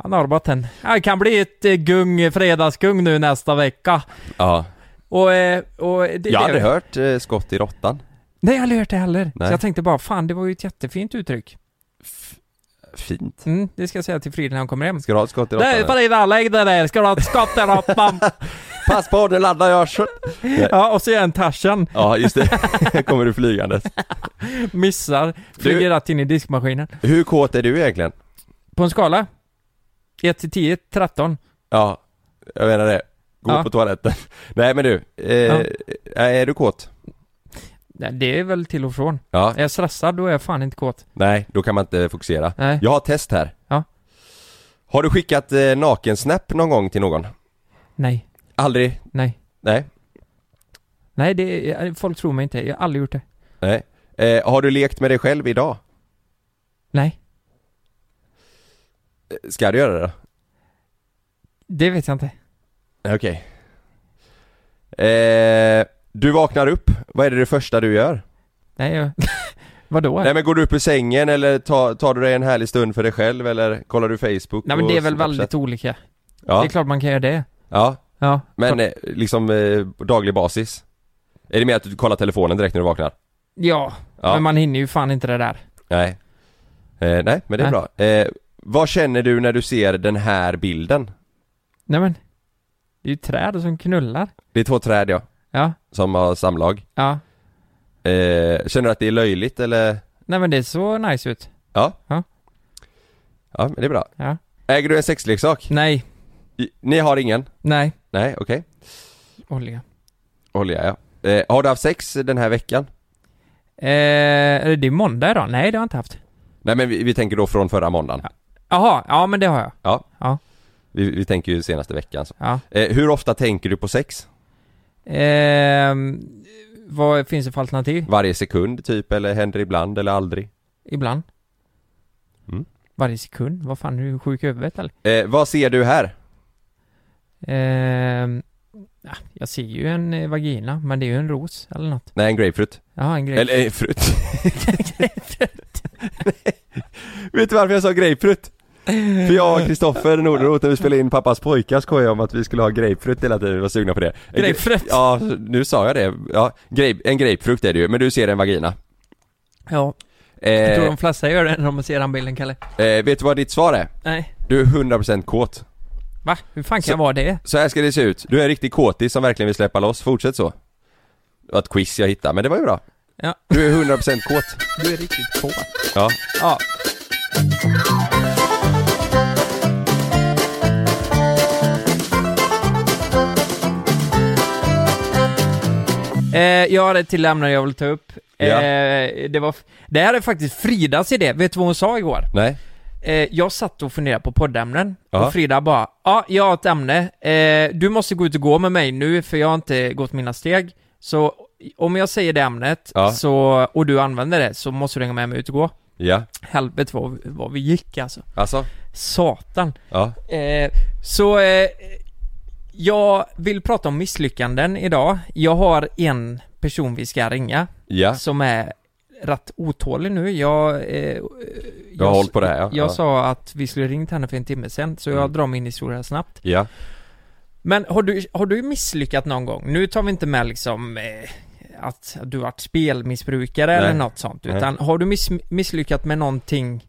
S9: Ja, Norrbotten. Ja, det kan bli ett eh, gung, fredagsgung nu nästa vecka.
S7: Ja.
S9: Och... eh, och det,
S7: jag har
S9: det,
S7: aldrig hört eh, skott i råttan.
S9: Nej, jag har aldrig hört det heller.
S7: Nej.
S9: Så jag tänkte bara, fan det var ju ett jättefint uttryck.
S7: Fint.
S9: Mm, det ska jag säga till Frid när han kommer hem.
S7: Ska du ha ett skott i råttan?
S9: Nej,
S7: eller?
S9: Frida, lägg dig ner! Ska du ha ett skott i råttan?
S7: Pass på, nu laddar jag skjut!
S9: Ja, och så är jag en Tarzan.
S7: Ja, just det. Kommer du flygandes.
S9: Missar, flyger rätt in i diskmaskinen.
S7: Hur kåt är du egentligen?
S9: På en skala? 1 till 10, 13.
S7: Ja, jag menar det. Gå
S9: Ja.
S7: på toaletten. Nej men du, eh,
S9: Ja.
S7: är du kåt?
S9: Nej, Det är väl till och från.
S7: Ja.
S9: Är jag stressad då är jag fan inte kåt.
S7: Nej, då kan man inte fokusera.
S9: Nej.
S7: Jag har ett test här.
S9: Ja.
S7: Har du skickat eh, nakensnap någon gång till någon?
S9: Nej.
S7: Aldrig?
S9: Nej.
S7: Nej.
S9: Nej, det är, folk tror mig inte. Jag har aldrig gjort det.
S7: Nej. Eh, har du lekt med dig själv idag?
S9: Nej.
S7: Eh, Ska du göra det då?
S9: Det vet jag inte.
S7: Nej, Okej. Eh, du vaknar upp, vad är det, det första du gör?
S9: Nej, jag... Vadå?
S7: Nej men går du upp ur sängen eller tar, tar du dig en härlig stund för dig själv eller kollar du Facebook?
S9: Nej men det är
S7: och
S9: väl
S7: Snapchat?
S9: väldigt olika.
S7: Ja.
S9: Det är klart man kan göra det.
S7: Ja.
S9: Ja.
S7: Men eh, liksom eh, på daglig basis? Är det mer att du kollar telefonen direkt när du vaknar?
S9: Ja,
S7: Ja.
S9: men man hinner ju fan inte det där.
S7: Nej. Eh, nej, men det är
S9: Nej.
S7: bra. Eh, vad känner du när du ser den här bilden?
S9: Nej men. Det är ju träd som knullar.
S7: Det är två träd ja.
S9: Ja.
S7: Som har samlag.
S9: Ja.
S7: Eh, känner du att det är löjligt eller?
S9: Nej men det såg nice ut.
S7: Ja.
S9: Ja.
S7: Ja, men det är bra.
S9: Ja.
S7: Äger du en sexleksak?
S9: Nej.
S7: Ni har ingen?
S9: Nej.
S7: Nej, okej.
S9: Olja.
S7: Olja ja. Eh, har du haft sex den här veckan?
S9: Eh, är det är måndag idag? Nej det har jag inte haft.
S7: Nej men vi, vi tänker då från förra måndagen.
S9: Jaha, ja men det har jag.
S7: Ja.
S9: Ja.
S7: Vi, vi tänker ju senaste veckan så.
S9: Ja.
S7: Eh, hur ofta tänker du på sex?
S9: Ehm, vad finns det för alternativ?
S7: Varje sekund typ, eller händer ibland eller aldrig?
S9: Ibland.
S7: Mm.
S9: Varje sekund? Vad fan, är du sjuk i huvudet eller?
S7: Eh, vad ser du här?
S9: Ehm, ja, jag ser ju en eh, vagina, men det är ju en ros eller något.
S7: Nej, en grapefruit.
S9: Ja, en grapefruit.
S7: Eller, eh, fruit. Vet du varför jag sa grapefruit? För jag och Kristoffer Nordenroth när vi spelade in Pappas pojkar skojade om att vi skulle ha grapefruit hela tiden, vi var sugna på det En gra-
S9: Grapefruit?
S7: Ja, nu sa jag det. Ja, grape, en grapefrukt är det ju, men du ser en vagina
S9: Ja. Jag
S7: eh,
S9: tror de flesta gör det när de ser den bilden, Kalle.
S7: eh, Vet du vad ditt svar är?
S9: Nej.
S7: Du är 100% kåt
S9: Va? Hur fan kan
S7: Så-
S9: jag vara det?
S7: Så här ska det se ut, du är en riktig kåtis som verkligen vill släppa loss, fortsätt så Det var ett quiz jag hittade, men det var ju bra
S9: Ja.
S7: Du är 100% kåt
S9: Du är riktigt kåt.
S7: Ja
S9: Ja. Eh, jag har ett till ämne jag vill ta upp. Eh,
S7: Ja.
S9: det, var, f- det här är faktiskt Fridas idé. Vet du vad hon sa igår?
S7: Nej
S9: Eh, jag satt och funderade på poddämnen
S7: Ja.
S9: och Frida bara Ja, jag har ett ämne. Eh, du måste gå ut och gå med mig nu för jag har inte gått mina steg. Så om jag säger det ämnet
S7: Ja.
S9: så, och du använder det så måste du hänga med mig ut och gå.
S7: Ja.
S9: Helvete vad, vi- vad vi gick alltså.
S7: Alltså?
S9: Satan.
S7: Ja.
S9: Eh, så eh, jag vill prata om misslyckanden idag. Jag har en person vi ska ringa
S7: Ja.
S9: som är rätt otålig nu. Jag, eh,
S7: Du har hållit på det här, ja. Mm.
S9: Jag
S7: Ja.
S9: sa att vi skulle ringt henne för en timme sedan så jag drar min historia snabbt.
S7: Ja.
S9: Men har du, har du misslyckat någon gång? Nu tar vi inte med liksom eh, att du har varit spelmissbrukare
S7: Nej.
S9: eller något sånt,
S7: Nej. Eh.
S9: utan har du miss, misslyckat med någonting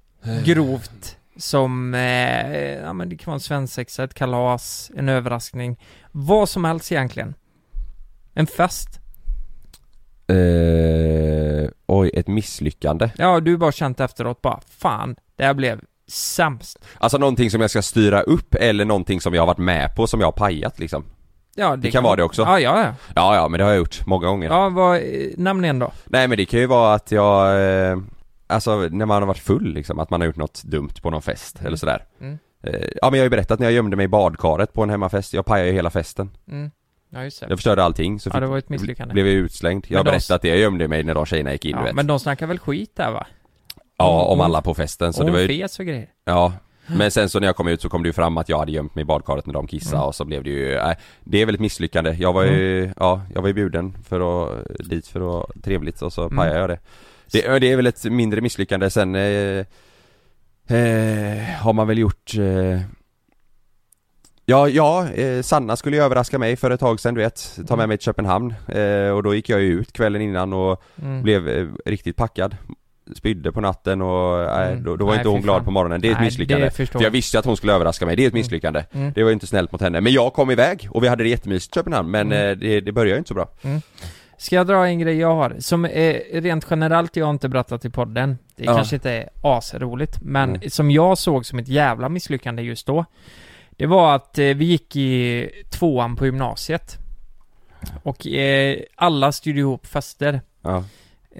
S9: grovt som, eh, ja men det kan vara en svensexa, ett kalas, en överraskning, vad som helst egentligen. En fest.
S7: Eh, oj, ett misslyckande.
S9: Ja, du har bara känt efteråt bara, fan, det här blev sämst.
S7: Alltså någonting som jag ska styra upp eller någonting som jag har varit med på som jag har pajat liksom.
S9: Ja,
S7: Det, kan vara det också.
S9: Ja, ja, ja.
S7: Ja, ja, men det har jag gjort många gånger.
S9: Ja, vad, eh, namn igen då.
S7: Nej men det kan ju vara att jag, eh, alltså när man har varit full liksom, att man har gjort något dumt på någon fest eller sådär.
S9: Mm.
S7: Eh, ja men jag har ju berättat när jag gömde mig i badkaret på en hemmafest, jag pajade ju hela festen.
S9: Mm. Ja, just det.
S7: Jag förstörde allting så
S9: Ja, det var ett misslyckande.
S7: blev jag utslängd. Jag
S9: Men
S7: har
S9: de-
S7: berättat det, jag gömde mig när de tjejerna gick in du
S9: Ja,
S7: vet.
S9: men de snackar väl skit där va?
S7: Ja, om
S9: Hon-
S7: alla på festen så
S9: och
S7: det var
S9: hon
S7: ju...
S9: fes och grejer.
S7: Ja. Men sen så när jag kom ut så kom det ju fram att jag hade gömt mig i badkaret när de kissade
S9: Mm.
S7: och så blev det ju, nej, det är väl ett misslyckande. Jag var ju, ja, jag var ju bjuden för att, dit för att, trevligt och så
S9: Mm.
S7: pajade jag det. det. ja, Det är väl ett mindre misslyckande sen eh, eh, har man väl gjort eh, Ja, ja, eh, Sanna skulle ju överraska mig för ett tag sedan du vet, ta
S9: Mm.
S7: med mig till Köpenhamn eh, och då gick jag ju ut kvällen innan och
S9: Mm.
S7: blev eh, riktigt packad Spydde på natten och nej,
S9: Mm.
S7: då, då var
S9: Nej,
S7: inte hon
S9: fy
S7: glad
S9: fan.
S7: på morgonen, det är ett
S9: Nej,
S7: misslyckande
S9: det förstår
S7: För jag
S9: jag.
S7: visste att hon skulle överraska mig, det är ett misslyckande
S9: Mm.
S7: Det var ju inte snällt mot henne, men jag kom iväg och vi hade det jättemysigt i Köpenhamn men
S9: Mm.
S7: eh, det, det började ju inte så bra
S9: Ska jag dra en grej jag har? Som är rent generellt jag har inte berättat i podden. Det
S7: Ja.
S9: kanske inte är asroligt, men
S7: Mm.
S9: som jag såg som ett jävla misslyckande just då. Det var att eh, vi gick i tvåan på gymnasiet. Och eh, alla styrde ihop fester.
S7: Ja.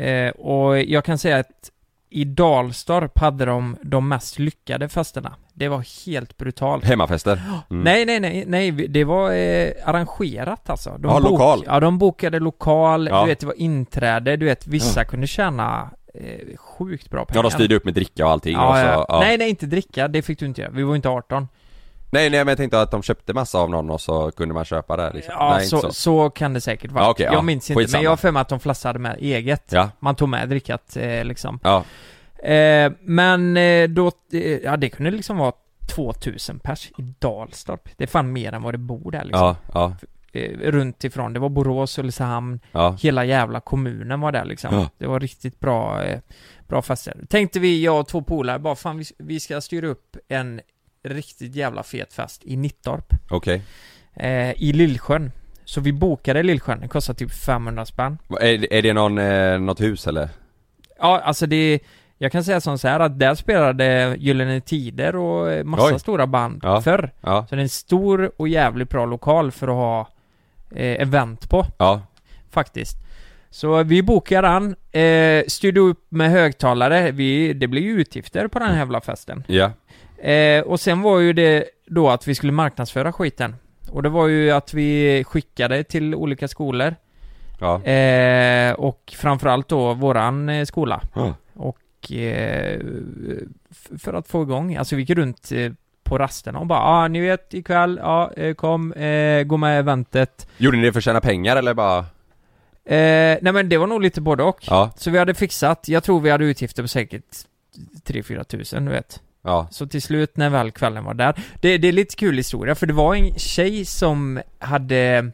S9: Eh, och jag kan säga att i Dalstorp hade de de mest lyckade festerna. Det var helt brutalt.
S7: Hemmafester? Mm.
S9: Nej, nej, nej, nej, vi- det var eh, arrangerat alltså.
S7: Ja,
S9: bok-
S7: lokal.
S9: Ja, de bokade lokal,
S7: Ja.
S9: du vet, det var inträde, du vet, vissa
S7: Mm.
S9: kunde tjäna eh, sjukt bra pengar.
S7: Ja de styrde upp med dricka och allting och
S9: Ja,
S7: så,
S9: ja.
S7: ja.
S9: Nej, nej, inte dricka, det fick du inte göra, vi var inte 18.
S7: Nej nej men jag tänkte att de köpte massa av någon och så kunde man köpa där liksom.
S9: Ja,
S7: nej,
S9: så,
S7: inte
S9: så. kan det säkert vara.
S7: Ja, okej,
S9: jag
S7: ja.
S9: minns inte,
S7: Skitsamma.
S9: men jag har för mig att de flesta hade med eget.
S7: Ja.
S9: Man tog med drickat eh, liksom.
S7: Ja.
S9: Eh, men eh, då, eh, ja det kunde liksom vara 2000 pers i Dalstorp. Det är fan mer än vad det bor där liksom.
S7: Ja, ja.
S9: eh, runt ifrån. Det var Borås, Ulricehamn,
S7: Ja.
S9: hela jävla kommunen var där liksom.
S7: Ja.
S9: Det var riktigt bra, eh, bra fester. Tänkte vi, jag och två polare, bara fan vi, vi ska styra upp en riktigt jävla fet fest i Nittorp.
S7: Okej.
S9: Eh, I Lillsjön. Så vi bokade Lillsjön, det kostade typ 500 spänn.
S7: Va- Är, är det någon, eh, något hus eller?
S9: Ja, alltså det jag kan säga som så här att där spelade Gyllene Tider och eh, massa
S7: Oj.
S9: stora band
S7: Ja.
S9: förr.
S7: Ja.
S9: Så det är en stor och jävligt bra lokal för att ha eh, event på.
S7: Ja.
S9: Faktiskt. Så vi bokade den, eh, styrde upp med högtalare. Vi, det blev ju utgifter på den här jävla festen.
S7: Ja.
S9: Eh, och sen var ju det då att vi skulle marknadsföra skiten. Och det var ju att vi skickade till olika skolor.
S7: Ja.
S9: Eh, och framförallt då våran eh, skola.
S7: Ja.
S9: Och eh, f- för att få igång, alltså vi gick runt eh, på rasterna och bara ja ah, ni vet ikväll, ja eh, kom, eh, gå med i eventet.
S7: Gjorde ni det för att tjäna pengar eller bara?
S9: Eh, nej men det var nog lite både och.
S7: Ja.
S9: Så vi hade fixat, jag tror vi hade utgifter på säkert 3-4 tusen, du vet.
S7: Ja.
S9: Så till slut när väl kvällen var där. Det, det är lite kul historia, för det var en tjej som hade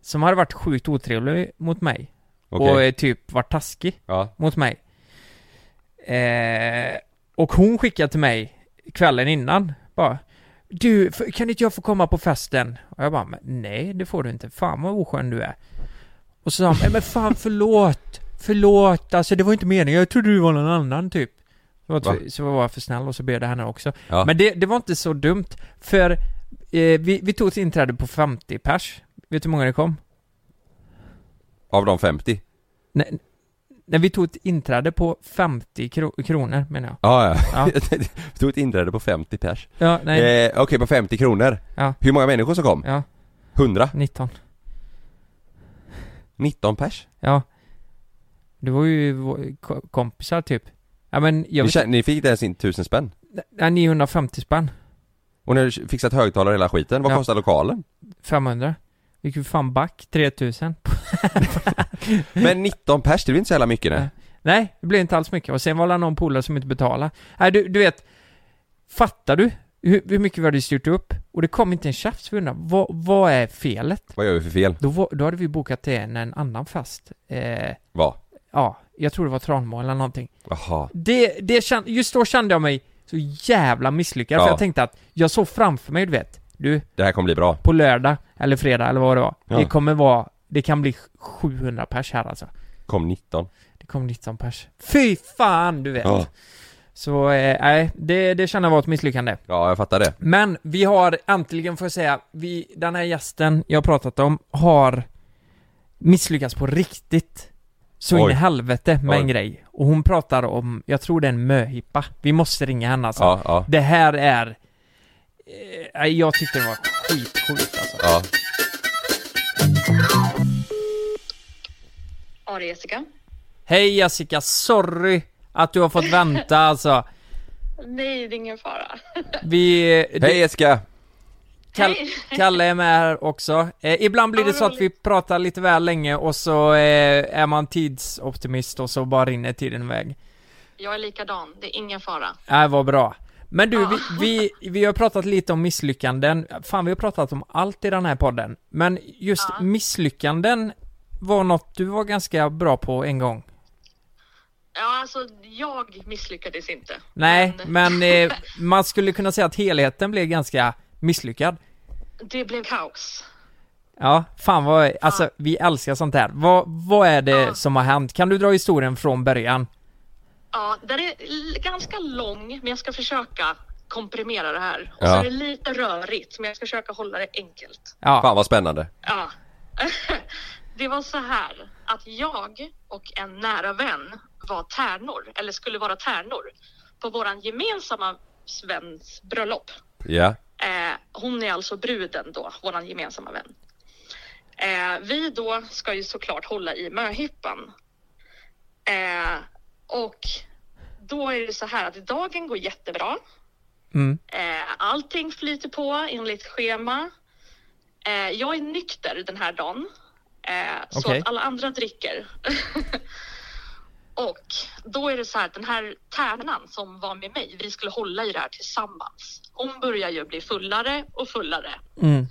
S9: som hade varit sjukt otrevlig mot mig.
S7: Okej.
S9: Och eh, typ varit taskig
S7: Ja.
S9: mot mig. Eh, och hon skickade till mig kvällen innan bara Du, f- kan inte jag få komma på festen? Och jag bara "Men nej det får du inte, fan vad oskön du är. Och så sa hon, "Nej, men fan förlåt, förlåt, alltså det var inte meningen, jag trodde du var någon annan typ. Så var,
S7: Va?
S9: så var jag för snäll och så bjöd jag henne också.
S7: Ja.
S9: Men det, det var inte så dumt, för eh, vi, vi tog ett inträde på 50 pers. Vet du hur många det kom?
S7: Av de 50?
S9: Nej, nej vi tog ett inträde på 50 kro- kronor menar jag.
S7: Ja, ja.
S9: Ja.
S7: Vi tog ett inträde på 50 pers.
S9: Ja, nej.
S7: Eh, Okej, på 50 kronor.
S9: Ja.
S7: Hur många människor som kom?
S9: Ja.
S7: 100?
S9: 19.
S7: 19 pers?
S9: Ja. Det var ju vår- ko- kompisar typ. Ja men jag
S7: Ni,
S9: vet
S7: tjä- ni fick inte ens in 1000 spänn?
S9: ja, 950 spänn.
S7: Och ni har fixat högtalare och hela skiten, vad
S9: Ja.
S7: kostar lokalen?
S9: 500. Gick ju fan back 3000.
S7: Men 19 pers, det blir inte så jävla mycket nej.
S9: Nej, det blev inte alls mycket. Och sen var det någon polare som inte betalade. Nej, du, du vet. Fattar du hur, hur mycket vi hade styrt upp? Och det kom inte en tjafs. Vi undrade, vad, vad är felet?
S7: Vad gör vi för fel?
S9: Då, var, då hade vi bokat till en, en annan fast. Eh,
S7: Vad?
S9: ja, jag tror det var Tranmo eller någonting.
S7: Jaha.
S9: Det, det kän, just då kände jag mig så jävla misslyckad.
S7: Ja.
S9: För jag tänkte att jag såg framför mig, du vet. Du,
S7: Det här kommer bli bra.
S9: på lördag eller fredag eller vad det var.
S7: Ja.
S9: Det kommer vara, det kan bli 700 pers här alltså.
S7: Kom 19.
S9: Det kom 19 pers. Fy fan, du vet.
S7: Ja.
S9: Så, eh, nej, det, det känner jag var ett misslyckande.
S7: Ja, jag fattar det.
S9: Men vi har, äntligen får jag säga, vi, den här gästen jag har pratat om har misslyckats på riktigt. Så in
S7: Oj.
S9: i helvete med en
S7: Oj.
S9: grej. Och hon pratar om, jag tror det är en möhippa. Vi måste ringa henne alltså.
S7: Ja, ja.
S9: Det här är... eh, nej, jag tyckte det var skitsjukt alltså.
S7: Ja.
S10: Ja, det är Jessica.
S9: Hej Jessica, sorry att du har fått vänta alltså.
S10: Nej, det är ingen fara.
S9: Vi...
S7: Hej Jessica!
S9: Kall,
S10: Hej.
S9: Kalle är med här också. Eh, ibland blir det så att vi pratar lite väl länge och så eh, är man tidsoptimist och så bara rinner tiden iväg.
S10: Jag är likadan, det är ingen fara.
S9: Nej, vad bra. Men du, vi, vi, vi har pratat lite om misslyckanden. Fan, vi har pratat om allt i den här podden. Men just misslyckanden var något du var ganska bra på en gång.
S10: Ja, alltså jag misslyckades inte.
S9: Nej, men eh, man skulle kunna säga att helheten blev ganska misslyckad.
S10: Det blev kaos.
S9: Ja, fan vad, alltså vi älskar sånt här. Vad, vad är det som har hänt? Kan du dra historien från början?
S10: Ja, den är l- ganska lång, men jag ska försöka komprimera det här.
S7: Ja.
S10: Och så är det lite rörigt, men jag ska försöka hålla det enkelt.
S9: Ja.
S7: Fan vad spännande.
S10: Ja. Det var så här att jag och en nära vän var tärnor, eller skulle vara tärnor, på våran gemensamma väns bröllop.
S7: Ja.
S10: Eh, hon är alltså bruden då, våran gemensamma vän. Eh, vi då ska ju såklart hålla i möhippan. Eh, och då är det så här att dagen går jättebra.
S9: Mm.
S10: Eh, allting flyter på enligt schema. Eh, jag är nykter den här dagen. Eh, Så
S17: Okej.
S10: att alla andra dricker. och då är det så här att den här tärnan som var med mig, vi skulle hålla i det här tillsammans. Hon börjar ju bli fullare och fullare.
S9: Mm.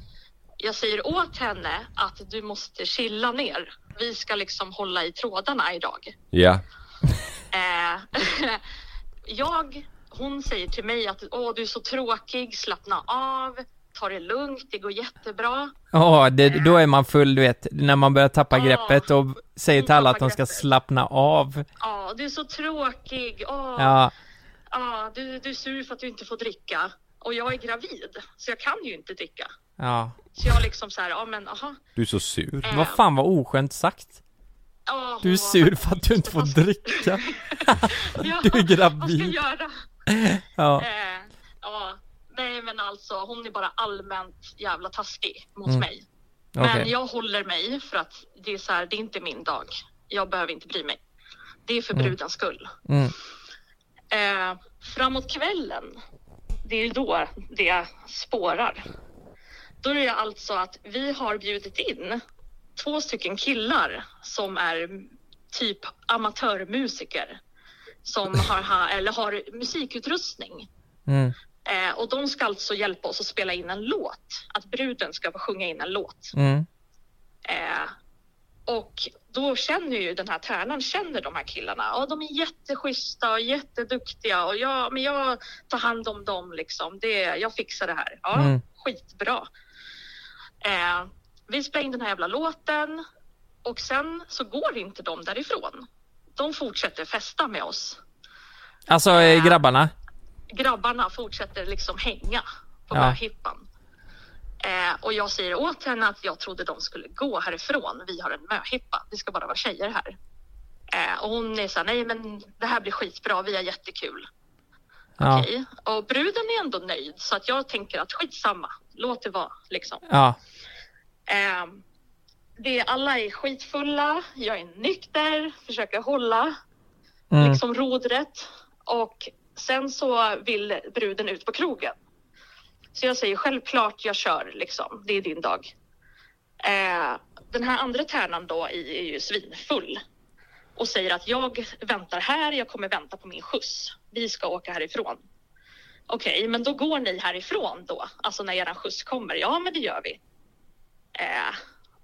S10: Jag säger åt henne att du måste chilla ner. Vi ska liksom hålla i trådarna idag.
S7: Ja.
S10: Eh, jag, hon säger till mig att Åh, du är så tråkig, slappna av, ta det lugnt, det går jättebra.
S9: Ja, det-
S10: Eh.
S9: då är man full du vet, när man börjar tappa greppet och säger till alla att de ska slappna av.
S10: Ja, du är så tråkig. Åh,
S9: Ja,
S10: ja, du, du är sur för att du inte får dricka. Och jag är gravid, så jag kan ju inte dricka.
S9: ja.
S10: Så jag liksom så här, ja men aha.
S7: Du är så sur.
S9: Vad fan vad oskönt sagt.
S10: Ja, hon
S9: Du är
S10: var-
S9: sur för att du inte får dricka.
S10: Ja,
S9: Du är
S10: Vad ska jag
S9: gravid.
S10: göra?
S9: Ja.
S10: Eh, ja, nej men alltså hon är bara allmänt jävla taskig mot
S9: Mm.
S10: mig. Men
S9: Okej.
S10: jag håller mig för att det är så här, det är inte min dag. Jag behöver inte bry mig. Det är för
S9: Mm.
S10: brudens skull.
S9: Mm.
S10: Eh, framåt kvällen, det är då det spårar. Då är det alltså att vi har bjudit in två stycken killar som är typ amatörmusiker som har, ha, eller har musikutrustning.
S9: Mm.
S10: Eh, och de ska alltså hjälpa oss att spela in en låt. Att bruden ska få sjunga in en låt.
S9: Mm.
S10: Eh, och då känner ju den här tärnan, känner de här killarna. Ja, de är jätteschyssta och jätteduktiga och jag, men jag tar hand om dem liksom. Det, jag fixar det här. Ja,
S9: Mm.
S10: skitbra. Eh, vi spelar in den här jävla låten och sen så går inte de därifrån. De fortsätter festa med oss.
S9: Alltså eh, grabbarna.
S10: Grabbarna fortsätter liksom hänga på
S9: Ja.
S10: möhippan. Eh, och jag säger åt henne att jag trodde de skulle gå härifrån. Vi har en möhippa. Vi ska bara vara tjejer här. Eh, och hon är så här, nej men det här blir skitbra. Vi har jättekul.
S9: Ja.
S10: Okej. Och bruden är ändå nöjd så att jag tänker att skitsamma. Låt det vara liksom.
S9: Ja.
S10: Eh, det, alla är skitfulla, jag är nykter, försöker hålla
S9: Mm.
S10: liksom rodret och sen så vill bruden ut på krogen. Så jag säger självklart jag kör liksom, det är din dag. Eh, den här andra tärnan då i, är ju svinfull och säger att jag väntar här, jag kommer vänta på min skjuts. Vi ska åka härifrån. Okej, men då går ni härifrån då, alltså när eran skjuts kommer. Ja, men det gör vi. Eh,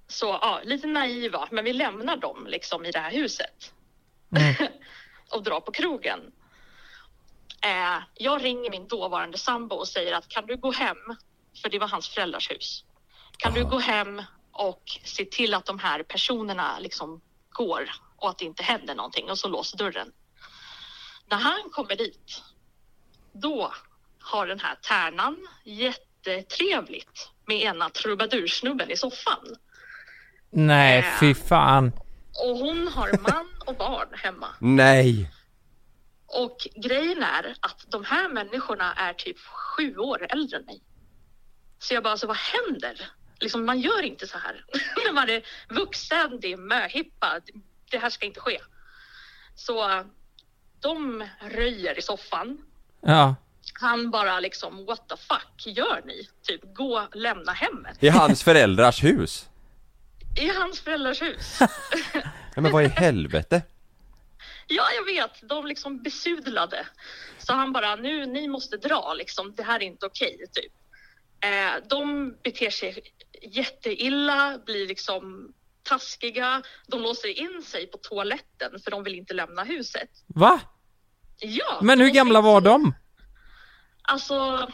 S10: så ja, lite naiva, men vi lämnar dem liksom i det här huset och drar på krogen. Eh, jag ringer min dåvarande sambo och säger att kan du gå hem, för det var hans föräldrars hus. Kan du gå hem och se till att de här personerna liksom går och att det inte händer någonting och så låser dörren. När han kommer dit, då har den här tärnan jättetrevligt med ena trubadursnubben i soffan.
S9: Nej, fy fan.
S10: Och hon har man och barn hemma.
S7: Nej!
S10: Och grejen är att de här människorna är typ sju år äldre än mig. Så jag bara, alltså vad händer? Liksom, man gör inte så här. När man är vuxen, det är möhippa, det- det här ska inte ske. Så eh, de röjer i soffan.
S9: Ja.
S10: Han bara liksom, what the fuck gör ni? Typ, gå, lämna hemmet.
S7: I hans föräldrars hus?
S10: I hans föräldrars hus.
S7: Nej men vad i helvete?
S10: Ja, jag vet. De liksom besudlade. Så han bara, nu ni måste dra liksom. Det här är inte okej, typ. Eh, de beter sig jätteilla, blir liksom taskiga. De låser in sig på toaletten för de vill inte lämna huset.
S9: Va?
S10: Ja,
S9: Men hur gamla var de?
S10: alltså.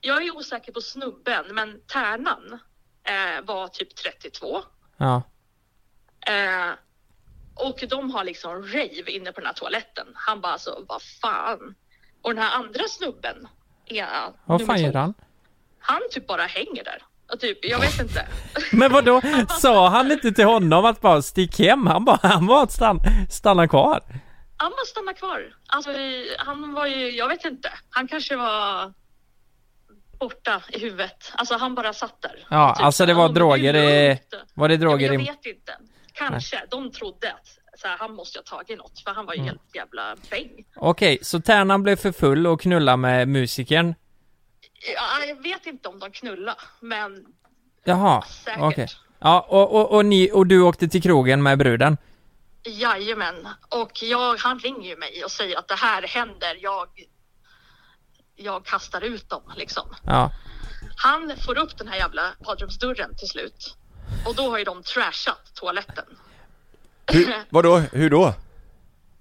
S10: Jag är osäker på snubben, men tärnan eh, var typ 32.
S9: Ja.
S10: Eh, och de har liksom rave inne på den här toaletten. Han bara alltså, vad fan? Och den här andra snubben, ja,
S9: Vad
S10: nummer
S9: fan
S10: två,
S9: gör han?
S10: han typ bara hänger där. Och typ, jag vet inte.
S9: Men vad då? Sa han inte till honom att bara stick hem? Han bara, han var att stanna, stanna kvar.
S10: Han bara stannar kvar. Alltså, eh, han var ju, jag vet inte. Han kanske var borta i huvudet. Alltså han bara satt där. Typ
S9: Ja, alltså det var droger i... Var det droger
S10: jag
S9: i...
S10: vet inte. Kanske. De trodde att så här, han måste ha tagit något för han var ju
S9: Mm.
S10: helt jävla bäng.
S9: Okej, så Tärnan blev för full och knullade med musikern.
S10: Ja, jag vet inte om de knullade, men
S9: Jaha,
S10: Säkert.
S9: okej. Ja, och, och, och, ni, och du åkte till krogen med bruden?
S10: Jajamän, och jag, han ringer ju mig och säger att det här händer, jag, jag kastar ut dem liksom.
S9: Ja.
S10: Han får upp den här jävla badrumsdörren till slut och då har ju de trashat toaletten.
S7: Hur, vadå, hur då?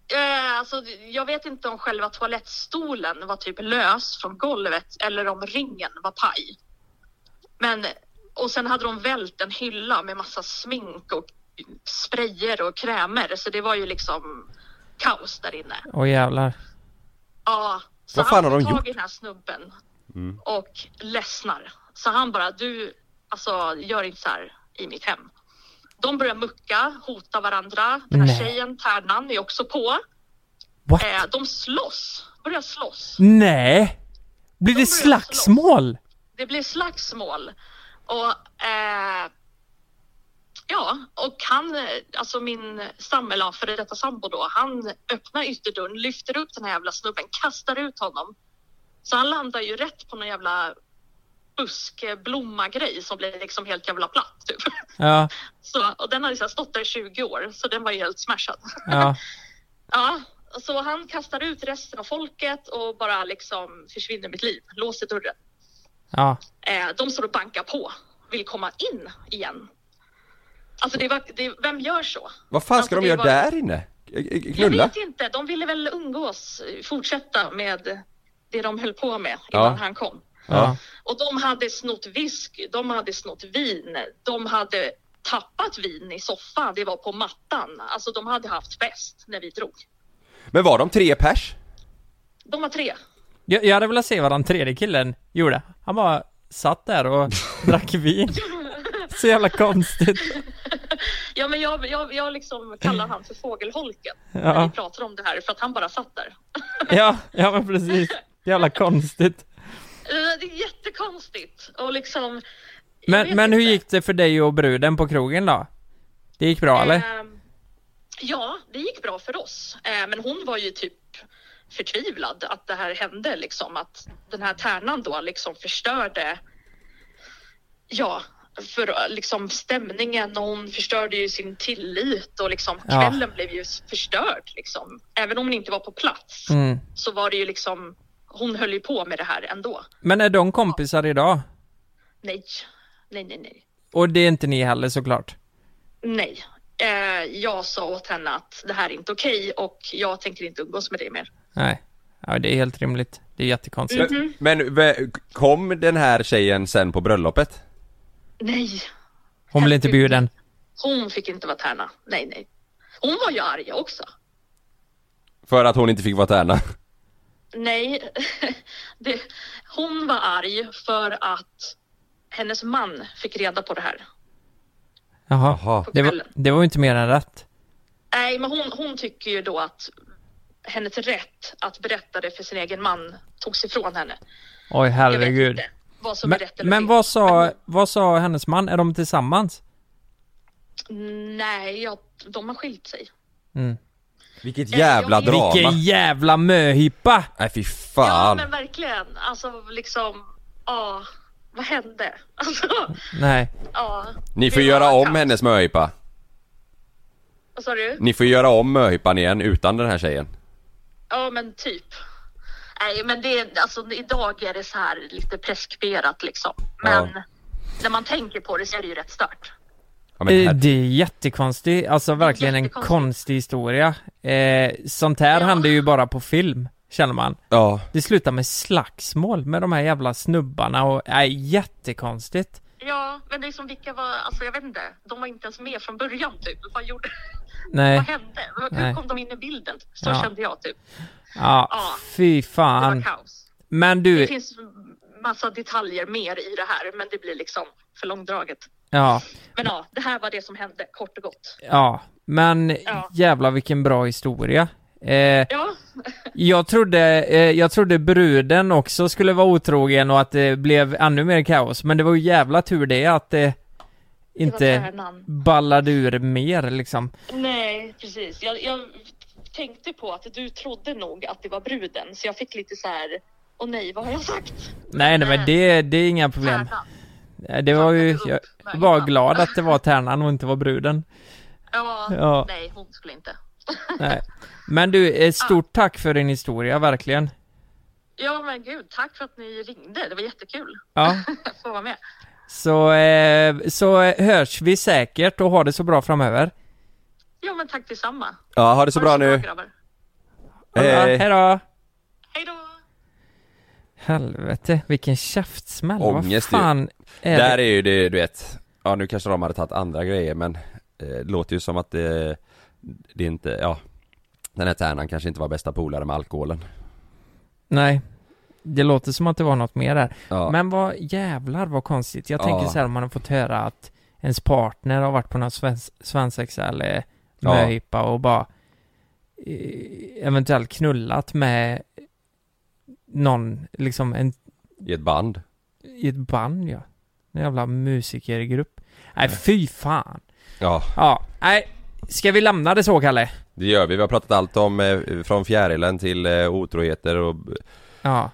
S10: Eh, alltså, jag vet inte om själva toalettstolen var typ lös från golvet eller om ringen var paj. Men, och sen hade de vält en hylla med massa smink och sprayer och krämer så det var ju liksom kaos där inne.
S9: Åh jävlar.
S10: Ja, så
S9: Vad fan
S10: han
S9: har de
S10: får tag
S9: gjort? Mm.
S10: i den här snubben och ledsnar. Så han bara, du, alltså gör inte så här i mitt hem. De börjar mucka, hota varandra. Den här
S9: Nej.
S10: tjejen, Tärnan, är också på.
S9: What?
S10: Eh, de slåss, börjar slåss.
S9: Nej! Blir det slagsmål?
S10: Det blir slagsmål. Och eh, ja, och han, eh, alltså min sambo, eller ja, före detta sambo då, han öppnar ytterdörren, lyfter upp den här jävla snubben, kastar ut honom. Så han landar ju rätt på någon jävla buskblomma-grej som blir liksom helt jävla platt typ.
S9: Ja,
S10: Så, och den har ju så här stått där i 20 år, så den var ju helt smashad.
S9: ja.
S10: Ja, så han kastar ut resten av folket och bara liksom försvinner mitt liv, låser dörren.
S9: Ja.
S10: Eh, de står och bankar på, vill komma in igen. Alltså det var, det, vem gör så?
S7: Vad fan
S10: Alltså,
S7: ska de
S10: det
S7: göra
S10: var-
S7: där inne? Eh, eh,
S10: Jag
S7: Knulla?
S10: vet inte, de ville väl umgås, eh, fortsätta med det de höll på med innan
S7: Ja.
S10: han kom.
S7: Ja.
S10: Och de hade snott whisky, de hade snott vin, de hade tappat vin i soffan, det var på mattan. Alltså de hade haft fest när vi drog.
S7: Men var de tre pers?
S10: De var tre.
S9: Jag, jag hade velat se vad den tredje killen gjorde. Han bara satt där och drack vin. Så jävla konstigt.
S10: Ja, men jag, jag, jag liksom kallar han för fågelholken när
S9: Ja.
S10: vi pratar om det här för att han bara satt där.
S9: Ja, ja men precis. Jävla konstigt.
S10: Eh, Det är jättekonstigt och liksom
S9: Men, men hur gick det för dig och bruden på krogen då? Det gick bra eller?
S10: Ehm, ja, det gick bra för oss. Eh, men hon var ju typ förtvivlad att det här hände, liksom att den här tärnan då liksom förstörde. Ja, för liksom stämningen och hon förstörde ju sin tillit och liksom
S9: Ja.
S10: kvällen blev ju förstörd liksom. Även om hon inte var på plats
S9: Mm.
S10: så var det ju liksom. Hon höll ju på med det här ändå.
S9: Men är de kompisar idag?
S10: Nej, nej, nej, nej.
S9: Och det är inte ni heller såklart?
S10: Nej. Eh, jag sa åt henne att det här är inte okej och jag tänker inte umgås med dig mer.
S9: Nej. Ja, det är helt rimligt. Det är jättekonstigt.
S10: Mhm.
S7: Men vä- kom den här tjejen sen på bröllopet?
S10: Nej,
S9: Hon blir inte bjuden.
S10: hon fick inte vara tärna. Nej, nej. Hon var ju arg också.
S7: För att hon inte fick vara tärna?
S10: Nej, det, hon var arg för att hennes man fick reda på det här.
S9: Jaha. Det var, det var ju inte mer än rätt.
S10: Nej, men hon, hon tycker ju då att hennes rätt att berätta det för sin egen man togs ifrån henne.
S9: Oj herregud.
S10: Vad som är
S9: Men,
S10: rätt eller
S9: men vad sa, vad sa hennes man? Är de tillsammans?
S10: Nej, jag, de har skilt sig.
S7: Vilket
S10: Eh,
S7: jävla drama!
S9: Vilken jävla möhippa!
S7: Nej fy fan!
S10: Ja, men verkligen. Alltså liksom, ja, vad hände? Alltså,
S9: Nej.
S10: ja.
S7: Ni får göra om hennes möhippa.
S10: Vad sa du?
S7: Ni får göra om möhippan igen utan den här tjejen.
S10: Ja, men typ. Nej, men det är, alltså idag är det så här lite preskriberat liksom. Men när man tänker på det så är det ju rätt stört.
S9: Eh, det är jättekonstigt, alltså verkligen en konstig historia. Eh, sånt här händer ju bara på film, känner man.
S7: Ja.
S9: Det slutar med slagsmål med de här jävla snubbarna och, nej, jättekonstigt.
S10: Ja, men liksom vilka var, alltså jag vet inte, de var inte ens med från början typ. Vad gjorde,
S9: Nej.
S10: vad hände? Hur
S9: Nej.
S10: kom de in i bilden? Så
S9: Ja.
S10: kände jag typ.
S9: Ja, fy fan.
S10: Det var kaos.
S9: Men du,
S10: Det finns massa detaljer mer i det här, men det blir liksom för långdraget.
S9: ja,
S10: Men ja, det här var det som hände, kort och gott.
S9: ja. Men
S10: Ja.
S9: jävla vilken bra historia. Eh,
S10: Ja,
S9: Jag trodde, eh, jag trodde bruden också skulle vara otrogen och att det blev ännu mer kaos, men det var ju jävla tur det att det inte
S10: kärnan.
S9: ballade ur mer liksom.
S10: nej, precis. Jag, jag tänkte på att du trodde nog att det var bruden, så jag fick lite så här, åh nej, vad har jag sagt?
S9: Nej, nej men det, det är inga problem.
S10: Tärnan.
S9: Eh, Det var ju, jag var glad att det var tärnan och inte var bruden.
S10: Ja,
S9: Ja.
S10: nej, hon skulle inte.
S9: Nej. Men du, eh, stort tack för din historia, verkligen.
S10: Ja, men gud, tack för att ni ringde. Det var jättekul
S9: Ja.
S10: att få vara med.
S9: Så, eh, så hörs vi säkert och ha det så bra framöver.
S10: Ja, men tack detsamma.
S7: Ja, ha det så bra nu.
S10: grabbar.
S7: Hej.
S9: Hej då!
S10: Hej då!
S9: Helvete, vilken käftsmäll. Vad
S7: Ångest ju.
S9: fan är
S7: Där
S9: det?
S7: är ju det, du vet Ja nu kanske de hade tagit andra grejer men eh, Det låter ju som att det, det är inte, ja Den här tärnan kanske inte var bästa polare med alkoholen
S9: Nej. Det låter som att det var något mer där.
S7: Ja.
S9: Men vad jävlar vad konstigt. Jag
S7: Ja.
S9: tänker så här om man har fått höra att ens partner har varit på någon svens- svensexa eller
S7: Ja.
S9: möhippa och bara eh, eventuellt knullat med någon, liksom en,
S7: I ett band
S9: i ett band ja. En jävla musikergrupp. Nej, fy fan.
S7: Ja
S9: Ja, nej. Ska vi lämna det så, Kalle?
S7: det gör vi, vi har pratat allt om eh, från fjärilen till eh, otroheter och
S9: Ja.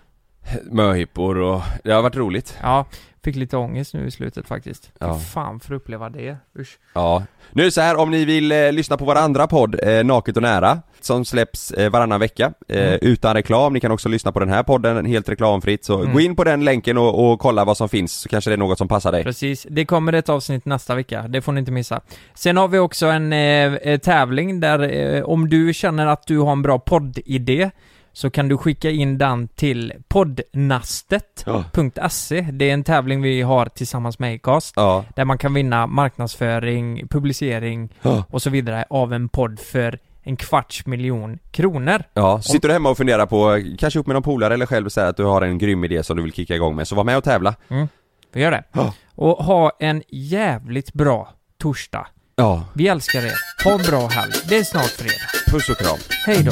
S7: möhippor och det har varit roligt
S9: Ja, fick lite ångest nu i slutet faktiskt.
S7: Ja.
S9: Ja. fan för att uppleva det. Usch.
S7: Ja, nu så här om ni vill eh, lyssna på vår andra podd, eh, Naket och nära, som släpps eh, varannan vecka eh,
S9: Mm.
S7: utan reklam. Ni kan också lyssna på den här podden helt reklamfritt, så
S9: Mm.
S7: gå in på den länken och, och kolla vad som finns, så kanske det är något som passar dig.
S9: Precis, det kommer ett avsnitt nästa vecka, det får ni inte missa. Sen har vi också en eh, eh, tävling där eh, om du känner att du har en bra poddidé så kan du skicka in den till poddnastet.se. Det är en tävling vi har tillsammans med Acast
S7: Ja.
S9: där man kan vinna marknadsföring, publicering
S7: Ja.
S9: och så vidare av en podd för en kvarts miljon kronor.
S7: Ja, sitter du hemma och funderar på, eh, kanske upp med någon polare eller själv säger att du har en grym idé som du vill kicka igång med, så var med och tävla.
S9: Mm. Vi gör det. Och ha en jävligt bra torsdag.
S7: Ja.
S9: Vi älskar er. Ha en bra helg. Det är snart fredag.
S7: Puss och kram.
S9: Hej då.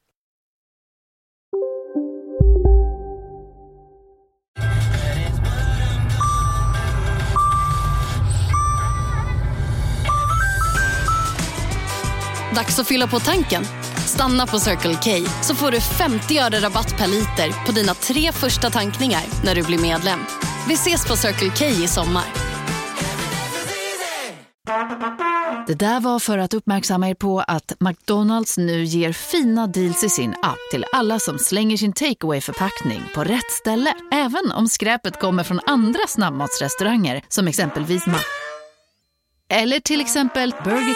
S13: Dags att fylla på tanken. Stanna på Circle K så får du 50 öre rabatt per liter på dina tre första tankningar när du blir medlem. Vi ses på Circle K i sommar.
S18: Det där var för att uppmärksamma er på att McDonalds nu ger fina deals i sin app till alla som slänger sin takeaway förpackning på rätt ställe. Även om skräpet kommer från andra snabbmatsrestauranger som exempelvis Ma... Eller till exempel Burger...